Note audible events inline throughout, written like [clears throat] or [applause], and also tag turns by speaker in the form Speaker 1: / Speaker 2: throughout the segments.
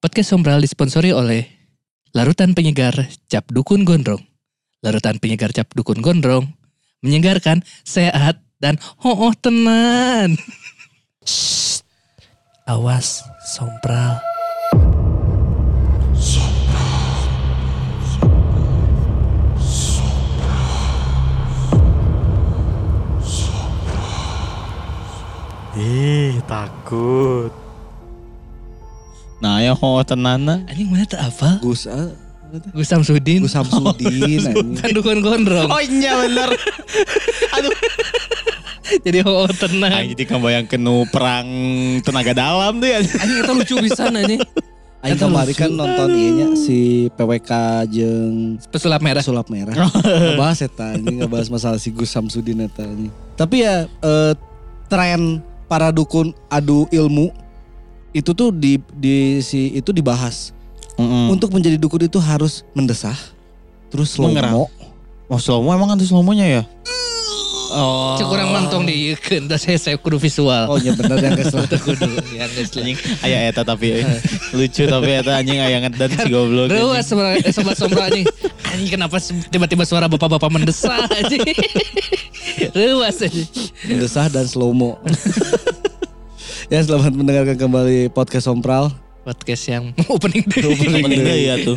Speaker 1: Podcast Sombral disponsori oleh Larutan Penyegar Cap Dukun Gondrong. Larutan Penyegar Cap Dukun Gondrong menyegarkan, sehat, dan hooh tenan. Shh. Awas, Sombral.
Speaker 2: Ih, takut.
Speaker 3: Nah, ya ho tenana.
Speaker 1: Anjing mana tak apa?
Speaker 4: Gus ah,
Speaker 1: Gus Samsudin.
Speaker 4: Gus Samsudin anjing.
Speaker 1: Kan Dukun Gondrong.
Speaker 3: Oh iya bener.
Speaker 1: [laughs] Jadi hooh
Speaker 3: Aing
Speaker 1: tenan.
Speaker 3: jadi kebayangkeun nu perang tenaga dalam tuh ya.
Speaker 1: Anjing itu lucu bisa anjing.
Speaker 4: Aing
Speaker 1: Eta
Speaker 4: kemarin
Speaker 1: lucu.
Speaker 4: kan nonton ieu nya si PWK jeung
Speaker 1: Pesulap merah.
Speaker 4: Sulap [laughs] Merah. Ngebahas eta anjing ngebahas masalah si Gus Samsudin eta anjing. Tapi ya eh, tren para dukun adu ilmu itu tuh di di si itu dibahas.
Speaker 3: Heeh.
Speaker 4: Untuk menjadi dukun itu harus mendesah, terus slow
Speaker 3: Mengerang.
Speaker 4: mo.
Speaker 3: Oh, slow-mo emang ada slow-mo-nya ya? Oh.
Speaker 1: Cek kurang mantong diikeun da saya saya kudu visual.
Speaker 4: Oh iya bener yang guys [laughs] lah.
Speaker 1: Teu kudu ya guys. lah.
Speaker 3: Anjing, aya eta tapi eh, lucu tapi eta anjing aya ngedan si goblok.
Speaker 1: Ruas sebelah eh, sebelah sombra anjing. Anjing kenapa se- tiba-tiba suara bapak-bapak mendesah anjing. Ruas anjing.
Speaker 4: Mendesah dan slow [laughs] mo. ya selamat mendengarkan kembali podcast Sompral.
Speaker 1: Podcast yang [laughs] opening dulu.
Speaker 3: Opening deui ya tuh.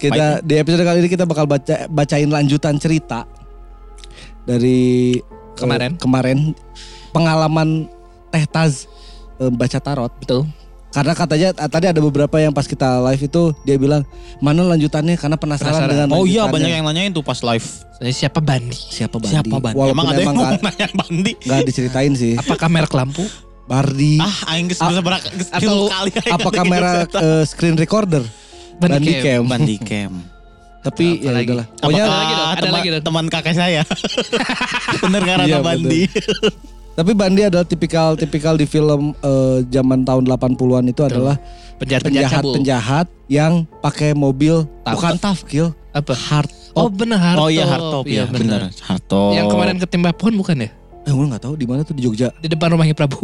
Speaker 4: Kita di episode kali ini kita bakal baca bacain lanjutan cerita dari eh,
Speaker 1: Kemarin.
Speaker 4: kemarin pengalaman Teh Taz eh, baca tarot.
Speaker 1: Betul.
Speaker 4: Karena katanya ah, tadi ada beberapa yang pas kita live itu dia bilang mana lanjutannya karena penasaran,
Speaker 1: Penasaran.
Speaker 4: dengan
Speaker 3: Oh iya
Speaker 4: lanjutannya."
Speaker 3: banyak yang nanyain tuh pas live.
Speaker 1: Soalnya siapa Bandi?
Speaker 4: siapa Bandi?
Speaker 1: Siapa Bandi?
Speaker 4: Walaupun
Speaker 3: Emang kan- ada yang
Speaker 4: emang
Speaker 3: mau
Speaker 4: nggak
Speaker 3: nanya Bandi.
Speaker 4: nggak diceritain
Speaker 3: [laughs]
Speaker 4: sih.
Speaker 1: Apakah merek lampu?
Speaker 4: Bardi. [laughs]
Speaker 3: Ah, aing geus bisa berak geus
Speaker 4: atau
Speaker 3: tilu kali aing
Speaker 4: apa
Speaker 3: [laughs] nanya
Speaker 4: kamera
Speaker 3: gitu, eta.
Speaker 4: eh, screen recorder
Speaker 1: Bandi Cam.
Speaker 4: Cam.
Speaker 3: Bandi cam. Ah,
Speaker 4: tapi
Speaker 1: Apa
Speaker 4: ya
Speaker 1: lagi?
Speaker 4: udahlah
Speaker 1: Apakah
Speaker 4: pokoknya
Speaker 1: ada lagi dong? Ada
Speaker 3: teman,
Speaker 1: lagi dong.
Speaker 3: teman kakek [laughs] saya. Bener karena
Speaker 4: Iya, betul.
Speaker 3: Bandi.
Speaker 4: tapi Bandi adalah tipikal tipikal di film eh, zaman tahun 80-an itu adalah
Speaker 1: Penjahat-penjahat
Speaker 4: penjahat
Speaker 1: cabul.
Speaker 4: penjahat yang pakai mobil
Speaker 1: Taf.
Speaker 4: bukan tafkil
Speaker 1: Apa?
Speaker 4: hard
Speaker 1: Oh benar Hartop.
Speaker 3: Oh iya Oh. Hartop ya, benar. Hartop.
Speaker 1: Yang kemarin ketimpa pohon bukan ya?
Speaker 4: eh gue nggak tahu di mana tuh di Jogja
Speaker 1: Di depan rumahnya Prabu.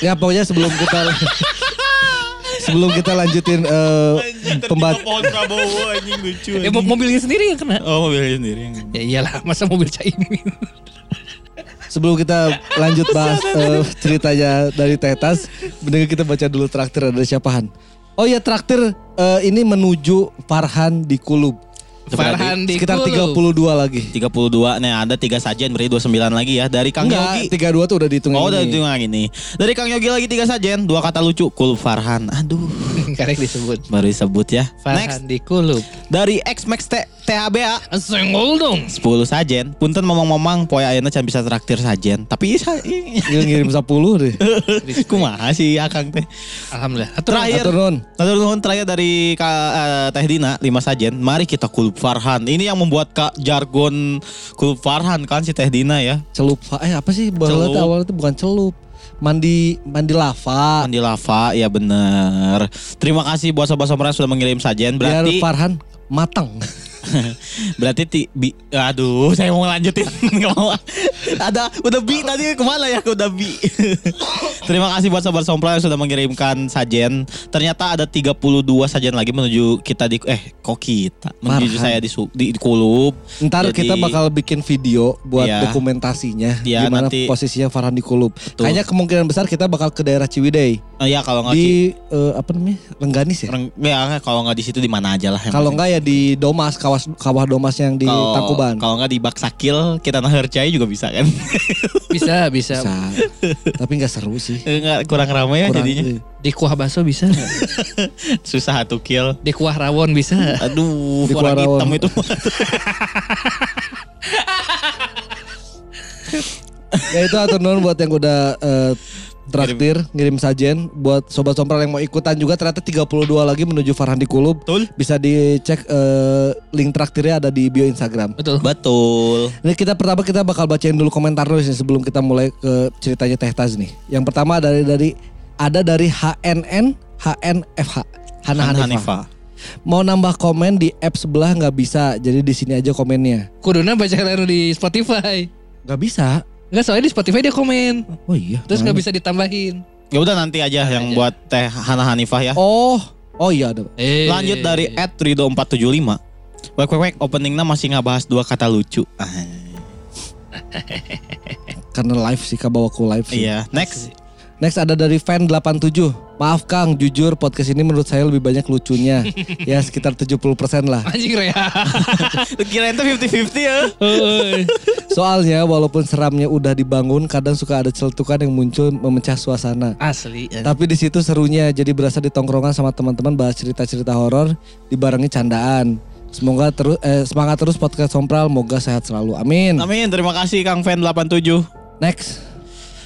Speaker 4: ya pokoknya sebelum kita
Speaker 3: [laughs]
Speaker 4: sebelum kita lanjutin eh, pembat
Speaker 3: pohon Prabowo anjing lucu.
Speaker 1: Eh mo- mobilnya sendiri yang kena.
Speaker 3: Oh mobilnya sendiri.
Speaker 1: Ya iyalah, masa mobil Caimin.
Speaker 4: sebelum kita lanjut bahas eh, ceritanya dari Tetas, mendingan kita baca dulu traktir ada siapaan. Oh ya traktir eh, ini menuju Farhan di Kulub.
Speaker 1: Farhan di
Speaker 4: Sekitar
Speaker 1: Kulub. [laughs]
Speaker 4: 32 lagi.
Speaker 3: 32 nih ada tiga sajian berarti 29 lagi ya dari Kang
Speaker 4: Enggak,
Speaker 3: Yogi.
Speaker 4: 32 tuh udah dihitung
Speaker 3: Oh
Speaker 4: yang
Speaker 3: udah
Speaker 4: ini.
Speaker 3: itu lagi nih. Dari Kang Yogi lagi tiga sajian, dua kata lucu, Kul Farhan. Aduh,
Speaker 1: Karek disebut.
Speaker 3: baru disebut ya. Next
Speaker 1: Farhan di Kulub.
Speaker 3: dari X Max T- THBA
Speaker 1: Senggol dong.
Speaker 3: 10 sajen. Punten momong-momong poe ayeuna can bisa traktir sajen. Tapi isa i-
Speaker 4: Dia ngirim 10 deh.
Speaker 3: kumaha sih Akang teh.
Speaker 1: Alhamdulillah. Atur,
Speaker 3: [laughs] Terakhir
Speaker 4: Atur nun.
Speaker 3: Lalu nuhun terakhir dari Ka, eh, Teh Dina, 5 sajen. Mari kita kulub Farhan. Ini yang membuat Kak jargon kulub Farhan kan si Teh Dina ya.
Speaker 4: Celup. fa- Eh apa sih? Bahwa
Speaker 3: Celup.
Speaker 4: awalnya tuh bukan celup. Mandi mandi lava.
Speaker 3: Mandi lava, ya bener. Terima kasih buat sobat sobat sudah mengirim sajen.
Speaker 4: Biar
Speaker 3: Berarti,
Speaker 4: Farhan matang.
Speaker 3: [laughs] berarti ti- bi- aduh, [laughs] saya mau lanjutin. Nggak mau. Ada udah bi tadi kemana ya? Udah bi. [laughs] Terima kasih buat sobat sompral yang sudah mengirimkan sajen. Ternyata ada 32 sajen lagi menuju kita di eh kok kita menuju
Speaker 4: Farhan.
Speaker 3: saya di, su- di, di kulub.
Speaker 4: [laughs] Ntar
Speaker 3: Jadi-
Speaker 4: kita bakal bikin video buat
Speaker 3: Iya.
Speaker 4: dokumentasinya
Speaker 3: Iya,
Speaker 4: gimana
Speaker 3: nanti-
Speaker 4: posisinya Farhan di Kulub. Kayaknya kemungkinan besar kita bakal ke daerah Ciwidey
Speaker 3: Eh, ya kalau nggak di,
Speaker 4: di eh, apa namanya Lengganis ya.
Speaker 3: Reng- ya kalau nggak di situ di mana aja lah. yang
Speaker 4: Kalau
Speaker 3: penting.
Speaker 4: enggak ya di Domas kawas kawah Domas yang di
Speaker 3: Kalau-
Speaker 4: Tangkuban.
Speaker 3: Kalau nggak di Baksakil, kita nahercai juga bisa kan. [laughs]
Speaker 1: bisa, bisa.
Speaker 4: Bisa. Tapi nggak seru sih.
Speaker 3: Enggak kurang ramai ya
Speaker 4: Kurang,
Speaker 3: jadinya.
Speaker 4: eh,
Speaker 1: Di kuah bakso bisa.
Speaker 3: Susah tuh kill.
Speaker 1: Di kuah rawon bisa.
Speaker 3: Aduh,
Speaker 4: Di
Speaker 3: warna
Speaker 4: Kuarawan.
Speaker 3: hitam itu.
Speaker 4: Ya itu atur nuhun buat yang udah eh, traktir, ngirim sajen buat sobat sompral yang mau ikutan juga ternyata 32 lagi menuju Farhan di Kulub.
Speaker 3: Betul.
Speaker 4: Bisa dicek eh, link traktirnya ada di bio Instagram.
Speaker 1: Betul.
Speaker 3: Betul.
Speaker 4: Ini kita pertama kita bakal bacain dulu komentar nulis nih sebelum kita mulai ke ceritanya Teh Taz nih. Yang pertama dari dari ada dari HNN HNFH Hana
Speaker 3: Han
Speaker 4: Hanifa. Mau nambah komen di app sebelah nggak bisa, jadi di sini aja komennya.
Speaker 1: Kuduna baca lalu di Spotify.
Speaker 4: Nggak bisa.
Speaker 1: Enggak soalnya di Spotify dia komen.
Speaker 4: Oh iya.
Speaker 1: Terus nggak bisa ditambahin.
Speaker 3: Ya udah nanti aja
Speaker 1: Nanti
Speaker 3: yang
Speaker 1: aja.
Speaker 3: buat Teh Hana Hanifah ya.
Speaker 4: Oh, oh iya ada.
Speaker 1: Eh.
Speaker 3: Lanjut dari at Rido 475. Wek wek wek openingnya masih ngebahas dua kata lucu. Ah,
Speaker 4: Karena live sih kabawa ku live sih.
Speaker 3: iya, next.
Speaker 4: Next ada dari fan 87. Maaf Kang, jujur podcast ini menurut saya lebih banyak lucunya. ya sekitar 70% lah.
Speaker 1: Anjing Rea.
Speaker 3: Kirain tuh 50-50 ya.
Speaker 1: Heueuy.
Speaker 4: Soalnya walaupun seramnya udah dibangun, kadang suka ada celetukan yang muncul memecah suasana.
Speaker 1: Asli.
Speaker 4: Tapi di situ serunya, jadi berasa di tongkrongan sama teman-teman bahas cerita-cerita horor dibarengi candaan. Semoga terus eh, semangat terus podcast Sompral, moga sehat selalu. Amin.
Speaker 3: Amin, terima kasih Kang Fan 87.
Speaker 4: Next.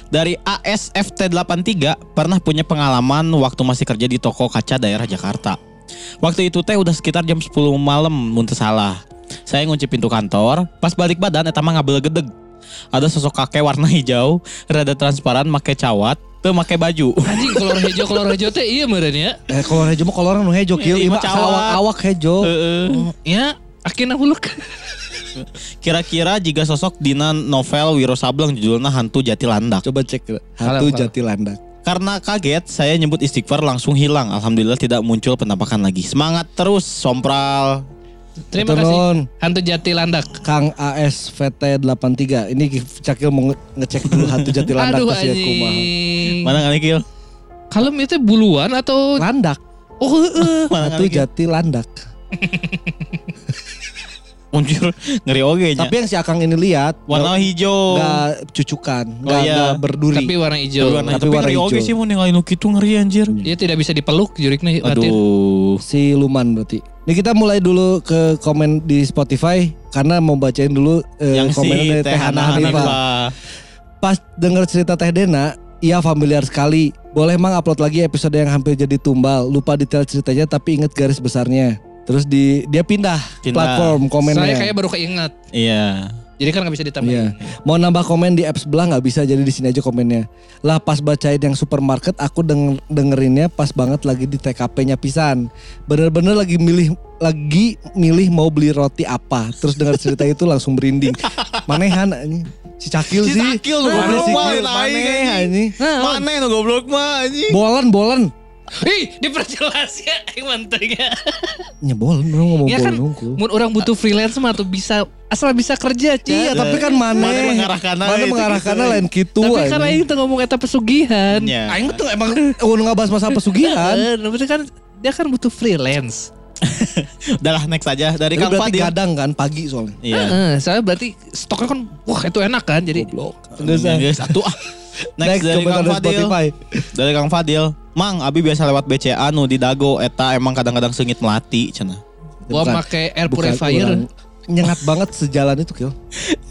Speaker 3: Dari ASFT83 pernah punya pengalaman waktu masih kerja di toko kaca daerah Jakarta. Waktu itu teh udah sekitar jam 10 malam mun teu salah. Saya ngunci pintu kantor, pas balik badan eta mah ngabel-gedeg. Ada sosok kakek warna hijau, rada transparan make cawat, teu make baju.
Speaker 1: Anjing kolor hijau kolor hijau teh iya meureun ya.
Speaker 4: Eh kalau hejo mah kolorna nu hejo kieu,
Speaker 3: Iya, mah
Speaker 4: ima
Speaker 3: cawak. Eh.
Speaker 4: awak hejo.
Speaker 3: Heeh.
Speaker 1: Ya, akhirnya huluk.
Speaker 3: Kira-kira jika sosok dina novel Wiro Sableng judulnya Hantu Jati Landak.
Speaker 4: Coba cek
Speaker 1: Kalem,
Speaker 4: hantu
Speaker 1: kalem.
Speaker 4: jati landak.
Speaker 3: Karena kaget, saya nyebut istighfar langsung hilang. Alhamdulillah tidak muncul penampakan lagi. Semangat terus, sompral.
Speaker 1: Terima
Speaker 4: Hatur
Speaker 1: kasih.
Speaker 4: nuhun.
Speaker 1: Hantu Jati Landak.
Speaker 4: Kang AS VT83 ini Cakil mau nge- ngecek dulu hantu jati landak
Speaker 1: Aduh
Speaker 4: pasti ya, kumaha.
Speaker 1: anjing.
Speaker 3: Mana kali Kil?
Speaker 1: Kalem itu buluan atau
Speaker 4: Landak,
Speaker 1: oh heeh.
Speaker 3: Mana Iya.
Speaker 4: hantu
Speaker 3: kali Kil?
Speaker 4: jati landak.
Speaker 3: Muncul [laughs] ngeri oge nya.
Speaker 4: Tapi yang si Akang ini lihat
Speaker 3: warna hijau.
Speaker 4: nggak cucukan, nggak
Speaker 3: iya.
Speaker 4: nggak berduri.
Speaker 1: tapi warna hijau.
Speaker 3: Warna-
Speaker 4: tapi
Speaker 3: tapi
Speaker 4: warna
Speaker 3: ngeri oge
Speaker 4: hijau.
Speaker 3: sih mau ninggalin gitu ngeri anjir.
Speaker 1: Dia tidak bisa dipeluk juriknya Latin.
Speaker 3: Aduh.
Speaker 4: Si Luman berarti. Ini kita mulai dulu ke komen di Spotify karena mau bacain dulu eh,
Speaker 3: Yang si
Speaker 4: komen dari
Speaker 3: Teh
Speaker 4: Teh Hana
Speaker 3: Hana
Speaker 4: Hanifah.
Speaker 3: Hanifah.
Speaker 4: Pas denger cerita Teh Dena, ia familiar sekali. Boleh mang upload lagi episode yang hampir jadi tumbal. Lupa detail ceritanya tapi inget garis besarnya. Terus di dia pindah,
Speaker 3: Pindah.
Speaker 4: platform komennya.
Speaker 1: Saya kayak baru keinget.
Speaker 3: Iya.
Speaker 1: Jadi kan nggak bisa ditambahin.
Speaker 4: Iya. Mau nambah komen di app sebelah nggak bisa jadi di sini aja komennya. Lah pas bacain yang supermarket aku deng- dengerinnya pas banget lagi di TKP-nya pisan. Bener-bener lagi milih lagi milih mau beli roti apa. Terus dengar cerita itu langsung
Speaker 3: [laughs]
Speaker 4: merinding. Manehan anjing. Si Cakil
Speaker 3: Si
Speaker 4: sih.
Speaker 3: Cakil lu,
Speaker 4: Mana
Speaker 3: goblok
Speaker 4: si
Speaker 3: mah,
Speaker 4: Cakil?
Speaker 3: tai,
Speaker 4: Maneh,
Speaker 3: anjing.
Speaker 4: anjing. Nah,
Speaker 3: Mana yang goblok mah anjing.
Speaker 4: Bolan bolan.
Speaker 1: Ih, diperjelas ya, aing mantengnya.
Speaker 4: Ya bolan orang ngomong
Speaker 1: Ya kan,
Speaker 4: bolan unggul.
Speaker 1: mun orang butuh freelance mah tuh bisa asal bisa kerja, Ci.
Speaker 4: Iya tapi kan Maneh.
Speaker 3: Maneh mengarahkanna
Speaker 4: Maneh
Speaker 3: itu
Speaker 4: mengarahkanna
Speaker 3: gitu,
Speaker 4: lain gitu.
Speaker 1: Tapi kan
Speaker 4: anjing.
Speaker 1: aing tuh ngomong eta pesugihan.
Speaker 3: Iya.
Speaker 4: Aing tuh emang Oh nggak bahas masalah pesugihan.
Speaker 1: Heeh,
Speaker 3: Eh,
Speaker 1: tapi kan dia kan butuh freelance.
Speaker 3: Udah lah next aja dari
Speaker 4: Itu
Speaker 3: Kang
Speaker 4: berarti
Speaker 3: Fadil.
Speaker 4: gadang kan pagi soalnya. [laughs]
Speaker 3: Iya.
Speaker 1: Heeh, soalnya berarti stoknya kan wah itu enak kan jadi
Speaker 4: Goblok.
Speaker 3: Terus
Speaker 4: eh.
Speaker 3: satu
Speaker 4: [laughs]
Speaker 3: ah. Next, dari
Speaker 4: komentar
Speaker 3: Kang Fadil. Dari Kang Fadil. Mang, Abi biasa lewat BCA nu di Dago eta emang kadang-kadang sengit melati cenah.
Speaker 1: gua
Speaker 4: Bukan.
Speaker 1: pakai air
Speaker 4: Bukan orang.
Speaker 1: purifier.
Speaker 4: Nyengat banget sejalan itu Kil.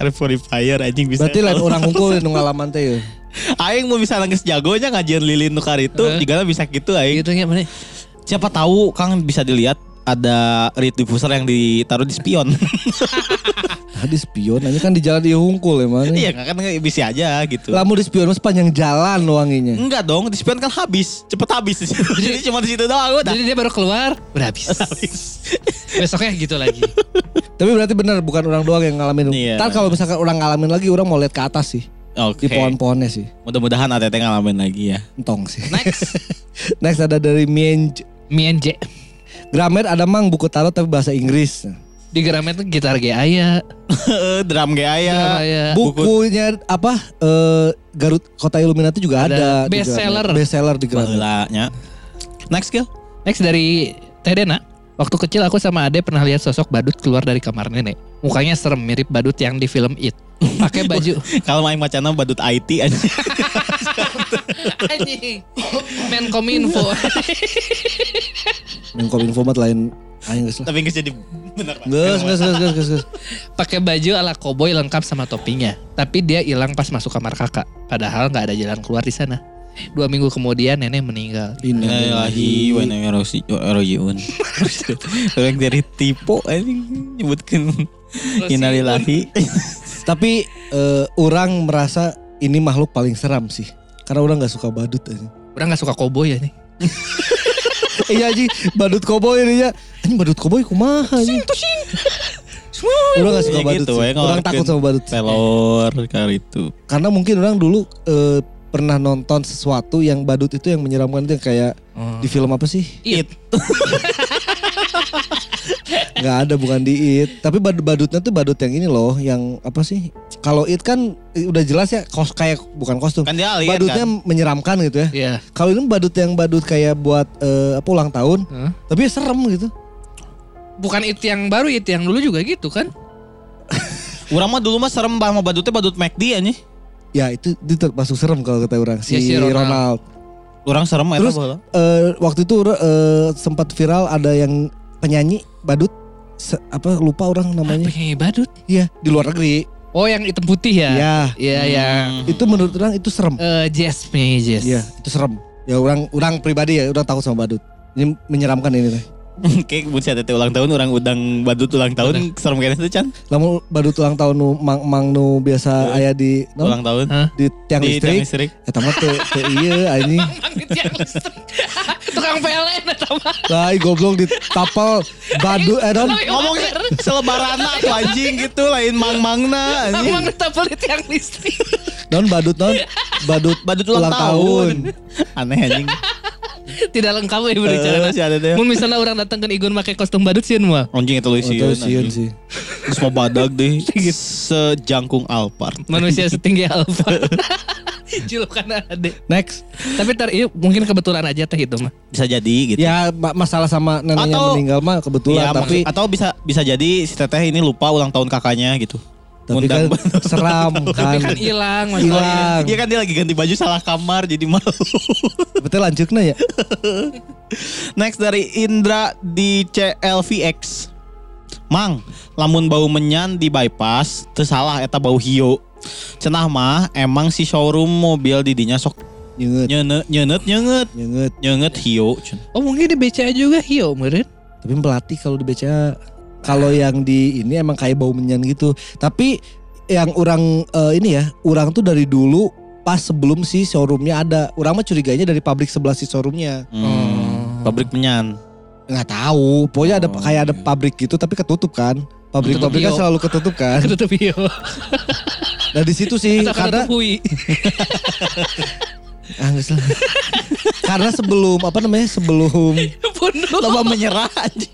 Speaker 3: Air purifier anjing bisa. ya.
Speaker 4: Berarti lain orang unggul nu ngalaman teh ya.
Speaker 3: [laughs] aing mau bisa nangis jagonya ngajian lilin nu itu
Speaker 1: Eh.
Speaker 3: juga bisa gitu aing.
Speaker 1: Gitu ya, mana?
Speaker 3: Siapa tahu Kang bisa dilihat ada read diffuser yang ditaruh di spion. [laughs]
Speaker 4: Tadi spion aja kan di jalan dia hungkul emang.
Speaker 3: Iya kan kan bisa aja gitu.
Speaker 4: Lamu di spion mas panjang jalan wanginya.
Speaker 3: Enggak dong, di spion kan habis, cepet habis. [laughs] di situ. Jadi cuma di situ doang udah.
Speaker 1: Jadi dia baru keluar, udah habis.
Speaker 4: [laughs]
Speaker 1: Besoknya gitu lagi.
Speaker 4: Tapi berarti benar bukan orang doang yang ngalamin.
Speaker 3: Iya.
Speaker 4: Ntar kalau misalkan orang ngalamin lagi orang mau lihat ke atas sih.
Speaker 3: Oke.
Speaker 4: Di pohon-pohonnya sih.
Speaker 3: Mudah-mudahan ATT ngalamin lagi ya. [laughs]
Speaker 4: Entong sih.
Speaker 1: Next,
Speaker 4: [laughs] Next ada dari Mienj.
Speaker 1: Mienje.
Speaker 4: Grammar ada mang buku tarot tapi bahasa Inggris.
Speaker 1: Di Gramet tuh gitar ya. ge aya.
Speaker 3: Drum ge
Speaker 1: Drum
Speaker 4: Ya,
Speaker 3: aya.
Speaker 1: aya.
Speaker 4: Bukunya apa? eh, Garut Kota Illuminati juga ada.
Speaker 1: Ada.
Speaker 4: di Gramet.
Speaker 1: Bestseller.
Speaker 4: Bestseller di Grammar.
Speaker 3: Baheula nya. Next kill.
Speaker 1: Next dari Tedena. Waktu kecil aku sama Ade pernah lihat sosok badut keluar dari kamar nenek. Mukanya serem mirip badut yang di film It. Pakai baju
Speaker 3: Kalau main macana badut IT aja.
Speaker 1: anjing. Menkominfo.
Speaker 4: Menkominfo mah lain aing geus lah.
Speaker 3: [laughs] Tapi nggak jadi bener. Pak.
Speaker 4: Geus geus geus geus geus. geus.
Speaker 1: [laughs] Pakai baju ala koboi lengkap sama topinya. Tapi dia hilang pas masuk kamar kakak. Padahal nggak ada jalan keluar di sana. Dua minggu kemudian nenek meninggal.
Speaker 3: Innalillahi wa inna ilaihi raji- rajiun. Orang dari tipu anjing nyebutkan innalillahi.
Speaker 4: Tapi eh, orang merasa ini makhluk paling seram sih. Karena orang nggak suka badut aja.
Speaker 1: Orang nggak suka koboi ya nih.
Speaker 4: iya Ji, badut koboi ini ya. Ini badut koboi kumaha anjing. Orang nggak suka
Speaker 3: Ya
Speaker 4: badut
Speaker 3: gitu,
Speaker 4: sih.
Speaker 3: ya, ngelarkeun
Speaker 4: Orang takut sama badut. sih.
Speaker 3: Pelor kali itu.
Speaker 4: Karena mungkin orang dulu eh, pernah nonton sesuatu yang badut itu yang menyeramkan itu yang kayak
Speaker 1: Oh.
Speaker 4: di film apa sih?
Speaker 1: It.
Speaker 4: nggak ada bukan di it tapi bad- badutnya tuh badut yang ini loh yang apa sih kalau it kan eh, udah jelas ya kos kayak bukan kostum
Speaker 3: Kan dia alien
Speaker 4: badutnya
Speaker 3: kan.
Speaker 4: menyeramkan gitu ya
Speaker 1: Iya.
Speaker 4: kalau ini badut yang badut kayak buat eh, apa ulang tahun
Speaker 1: Hah?
Speaker 4: tapi serem gitu
Speaker 1: Bukan it yang baru, it yang dulu juga gitu kan?
Speaker 3: Urang mah dulu mah serem bah sama badutnya badut McD anjing.
Speaker 4: ya itu itu termasuk serem kalau kata orang si,
Speaker 1: Ya, si Ronald.
Speaker 4: Ronald,
Speaker 3: Urang serem eta
Speaker 4: Terus-
Speaker 3: bola.
Speaker 4: Eh, waktu itu eh, sempat viral ada yang penyanyi badut se- apa lupa orang namanya
Speaker 1: Penyanyi badut.
Speaker 4: iya di luar negeri
Speaker 1: Oh, yang hitam putih ya?
Speaker 4: Iya
Speaker 1: Iya, yang
Speaker 4: itu menurut orang itu serem
Speaker 1: eh jazz mages.
Speaker 4: Iya, itu serem. Ya orang orang pribadi ya udah takut sama badut. Ini menyeramkan ini teh.
Speaker 3: [laughs] Kayak mun si Tete ulang tahun orang udang badut ulang tahun serem kayaknya tuh Chan.
Speaker 4: Lamun badut ulang tahun nu mang mang nu biasa aya di
Speaker 3: Iya.
Speaker 4: no,
Speaker 3: Ulang tahun.
Speaker 1: Hah?
Speaker 4: di tiang
Speaker 3: Di tiang
Speaker 4: listrik. Ya,
Speaker 3: listrik.
Speaker 4: Eta mah teu teu ieu anjing.
Speaker 1: Langit yang listrik. [laughs] Tukang PLN atau apa?
Speaker 4: Lah ih, goblok di tapel badut eh non.
Speaker 3: Ngomong selebarana tuh anjing gitu lain mang-mangna anjing.
Speaker 1: Emang tetap pelit yang listrik. [laughs]
Speaker 4: Non badut non.
Speaker 3: Iya.
Speaker 4: Badut
Speaker 3: Badut ulang, tahun. Aneh anjing.
Speaker 1: Tidak lengkap ya berbicara.
Speaker 3: Eh, si Tete.
Speaker 1: Mun misalnya orang datang ke Igun pakai kostum badut sih mau.
Speaker 3: Anjing itu lu
Speaker 4: Oh,
Speaker 3: sieun,
Speaker 4: teu sieun
Speaker 3: anjing.
Speaker 4: sih.
Speaker 3: Terus mau badag
Speaker 4: [laughs]
Speaker 3: deh
Speaker 4: Gitu.
Speaker 3: Sejangkung Alphard
Speaker 1: Manusia setinggi Alfa.
Speaker 3: [laughs]
Speaker 1: Julukan ade.
Speaker 4: Next.
Speaker 1: Tapi ntar iya, mungkin kebetulan aja teh itu mah.
Speaker 3: Bisa jadi gitu
Speaker 4: Ya ma- masalah sama neneknya
Speaker 3: Atau-
Speaker 4: meninggal mah kebetulan
Speaker 3: Iya,
Speaker 4: tapi
Speaker 3: maksud- atau bisa bisa jadi si teteh ini lupa ulang tahun kakaknya gitu.
Speaker 4: tapi kan
Speaker 3: Ngundang-
Speaker 4: [laughs]
Speaker 3: [laughs]
Speaker 4: seram kan.
Speaker 1: Tapi kan hilang masalahnya.
Speaker 4: Hilang.
Speaker 3: Iya kan dia lagi ganti baju salah kamar jadi malu. [laughs]
Speaker 4: Betul lanjutnya ya.
Speaker 3: Next dari Indra di CLVX. Mang, lamun bau menyan di bypass teu salah eta bau hio. Cenah mah emang si showroom mobil di dinya sok
Speaker 4: Nyeungeut.
Speaker 3: nyeuneu- nyeuneu- nyeunget nyeunget
Speaker 4: Nyeungeut.
Speaker 3: nyeunget hio. cun.
Speaker 1: Oh mungkin di BCA juga iya, hio meren.
Speaker 4: Tapi pelatih kalau di BCA kalau yang di ini emang kayak bau menyan gitu. Tapi yang orang eh, ini ya, orang tuh dari dulu pas sebelum si showroomnya ada. Orang mah curiganya dari pabrik sebelah si showroomnya.
Speaker 3: Hmm, Pabrik menyan.
Speaker 4: Nggak tahu, pokoknya ada
Speaker 3: Oh,
Speaker 4: kayak ada pabrik gitu tapi ketutup kan. Pabrik-pabrik kan
Speaker 1: Ketutup,
Speaker 4: selalu ketutup
Speaker 3: [laughs] Ah.
Speaker 4: kan.
Speaker 1: Ketutup hio.
Speaker 4: Nah di situ sih
Speaker 3: Iya,
Speaker 1: Atau ketutup
Speaker 4: karena
Speaker 1: hui. [laughs]
Speaker 4: Ah, nggak salah. [laughs] karena sebelum apa namanya
Speaker 3: [laughs]
Speaker 4: sebelum
Speaker 1: Bunuh.
Speaker 3: Loba menyerah anjing.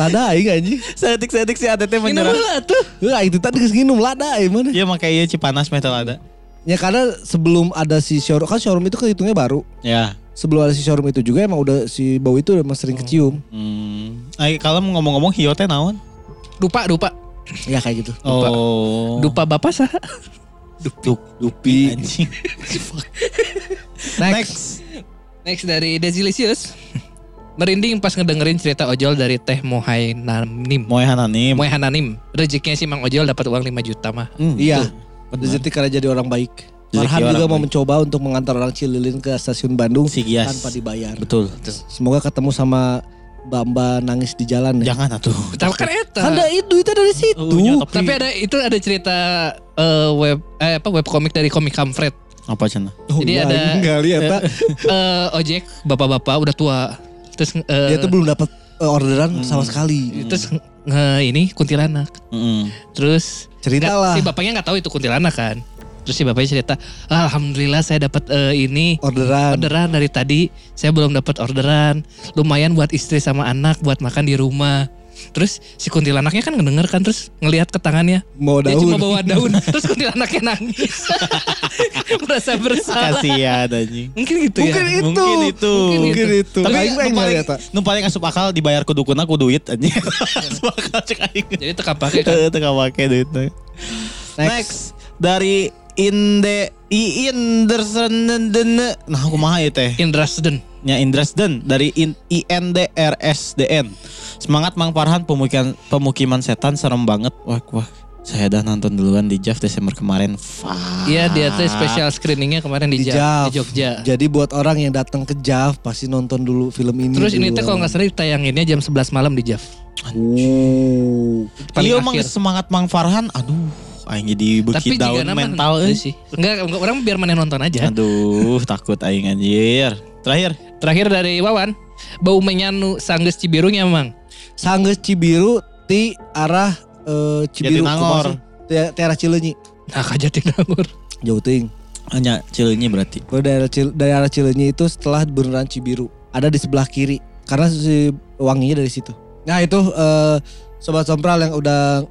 Speaker 4: lada aing anjing.
Speaker 3: Setik-setik si
Speaker 1: Ini
Speaker 3: ATT menyerah.
Speaker 1: mah tuh.
Speaker 4: Eh, aing teh tadi geus nginum lada aing mana.
Speaker 3: Iya makanya Cipanas metal ada.
Speaker 4: Ya karena sebelum ada si showroom kan showroom itu kehitungnya baru.
Speaker 3: Ya.
Speaker 4: sebelum ada si showroom itu juga emang udah si bau itu udah emang sering kecium.
Speaker 3: Hmm. Ay, kalau mau ngomong-ngomong Hio teh naon?
Speaker 1: Dupa, dupa.
Speaker 4: Ya kayak gitu.
Speaker 3: Oh.
Speaker 1: Dupa bapak sah.
Speaker 3: Dup, dupi anjing. Next.
Speaker 1: Next dari Desilicious. Merinding pas ngedengerin cerita ojol dari Teh Mohai Nanim.
Speaker 3: Moe Hananim.
Speaker 1: Mohai Hananim. Rezekinya si Mang Ojol dapat uang 5 juta mah.
Speaker 3: Hmm,
Speaker 4: Iya.
Speaker 3: betul.
Speaker 4: Rezeki karena jadi orang baik.
Speaker 3: Rezeki
Speaker 4: Farhan
Speaker 3: orang
Speaker 4: juga mau
Speaker 3: baik.
Speaker 4: mencoba untuk mengantar orang Cililin ke stasiun Bandung
Speaker 3: Si Gias.
Speaker 4: tanpa dibayar.
Speaker 3: Betul.
Speaker 4: Semoga ketemu sama Bamba nangis di jalan ya.
Speaker 3: Jangan atuh.
Speaker 1: Tapi kan eta.
Speaker 4: Kan ada itu itu dari situ.
Speaker 3: Oh, iya, tapi-
Speaker 1: Tapi ada itu ada cerita eh, web eh, apa web komik dari komik
Speaker 4: [laughs]
Speaker 1: Kamfred.
Speaker 3: Apa cina?
Speaker 4: Oh,
Speaker 1: Jadi
Speaker 4: iya,
Speaker 1: ada-
Speaker 4: enggak lihat Pak.
Speaker 1: Eh, ojek bapak-bapak udah tua. Terus eh,
Speaker 4: Dia tuh belum dapat eh, orderan sama sekali.
Speaker 1: terus nge- ini kuntilanak.
Speaker 3: Mm-mm.
Speaker 1: Terus
Speaker 4: Cerita
Speaker 1: nggak-
Speaker 4: lah.
Speaker 1: Si bapaknya nggak tahu itu kuntilanak kan. Terus si bapaknya cerita, "Ah, alhamdulillah saya dapat eh, ini
Speaker 4: Orderan.
Speaker 1: orderan dari tadi. Saya belum dapat orderan. Lumayan buat istri sama anak buat makan di rumah. Terus si kuntilanaknya kan ngedenger kan terus ngelihat ke tangannya.
Speaker 4: Mau
Speaker 1: Dia
Speaker 4: daun.
Speaker 1: cuma bawa daun. terus kuntilanaknya nangis. [laughs] Merasa bersalah.
Speaker 3: Kasihan anjing.
Speaker 1: Mungkin gitu
Speaker 4: Mungkin
Speaker 1: ya.
Speaker 4: itu.
Speaker 3: Mungkin itu.
Speaker 1: Mungkin
Speaker 4: Mungkin itu.
Speaker 1: Tapi
Speaker 4: Aing mah
Speaker 3: nu
Speaker 4: enggak
Speaker 3: paling,
Speaker 4: lihat, Pak.
Speaker 3: nu paling asup akal dibayar ku dukun aku duit anjing. [laughs] asup akal cek aing.
Speaker 1: Jadi tekap pakai kan.
Speaker 3: Teu teu make duit. teh. Next. dari Inde I Indersen nah aku mah ya teh
Speaker 1: Indra Seden.
Speaker 3: nya Indrasden dari In, INDRSDN. Semangat Mang Farhan pemukiman pemukiman setan serem banget. Wah, wah. Saya dah nonton duluan di Jav Desember kemarin. Fuck.
Speaker 1: Iya dia tuh special screeningnya kemarin di,
Speaker 4: Ah. Di
Speaker 1: Ja-
Speaker 4: Jav.
Speaker 1: di Jogja.
Speaker 4: Jadi buat orang yang datang ke Jav pasti nonton dulu film ini.
Speaker 1: Terus ini
Speaker 4: dulu.
Speaker 1: tuh kalau nggak salah ditayanginnya jam 11 malam di Jav.
Speaker 4: Oh.
Speaker 1: Paling
Speaker 3: Iya, Mang
Speaker 1: akhir.
Speaker 3: semangat Mang Farhan. Aduh, aing
Speaker 1: Tapi
Speaker 3: jadi beki
Speaker 1: jika
Speaker 3: down
Speaker 1: nama
Speaker 3: mental eh. Kan.
Speaker 1: itu
Speaker 3: euy.
Speaker 1: sih. ya. Enggak, enggak, orang biar mana yang nonton aja.
Speaker 3: Aduh, takut aing anjir. Terakhir,
Speaker 1: Terakhir dari Wawan, bau menyanu sanggeus Cibirungnya Mang.
Speaker 4: Sanggeus Cibiru ti arah eh, Cibiru
Speaker 3: Jatinangor.
Speaker 4: Ti arah Cileunyi.
Speaker 1: Nah, kajatinangor.
Speaker 4: Jauh ting.
Speaker 3: Hanya cilenyi berarti.
Speaker 4: Baru daerah Cil daerah Cileunyi itu setelah beneran Cibiru ada di sebelah kiri karena si wanginya dari situ. Nah itu eh, sobat sompral yang udah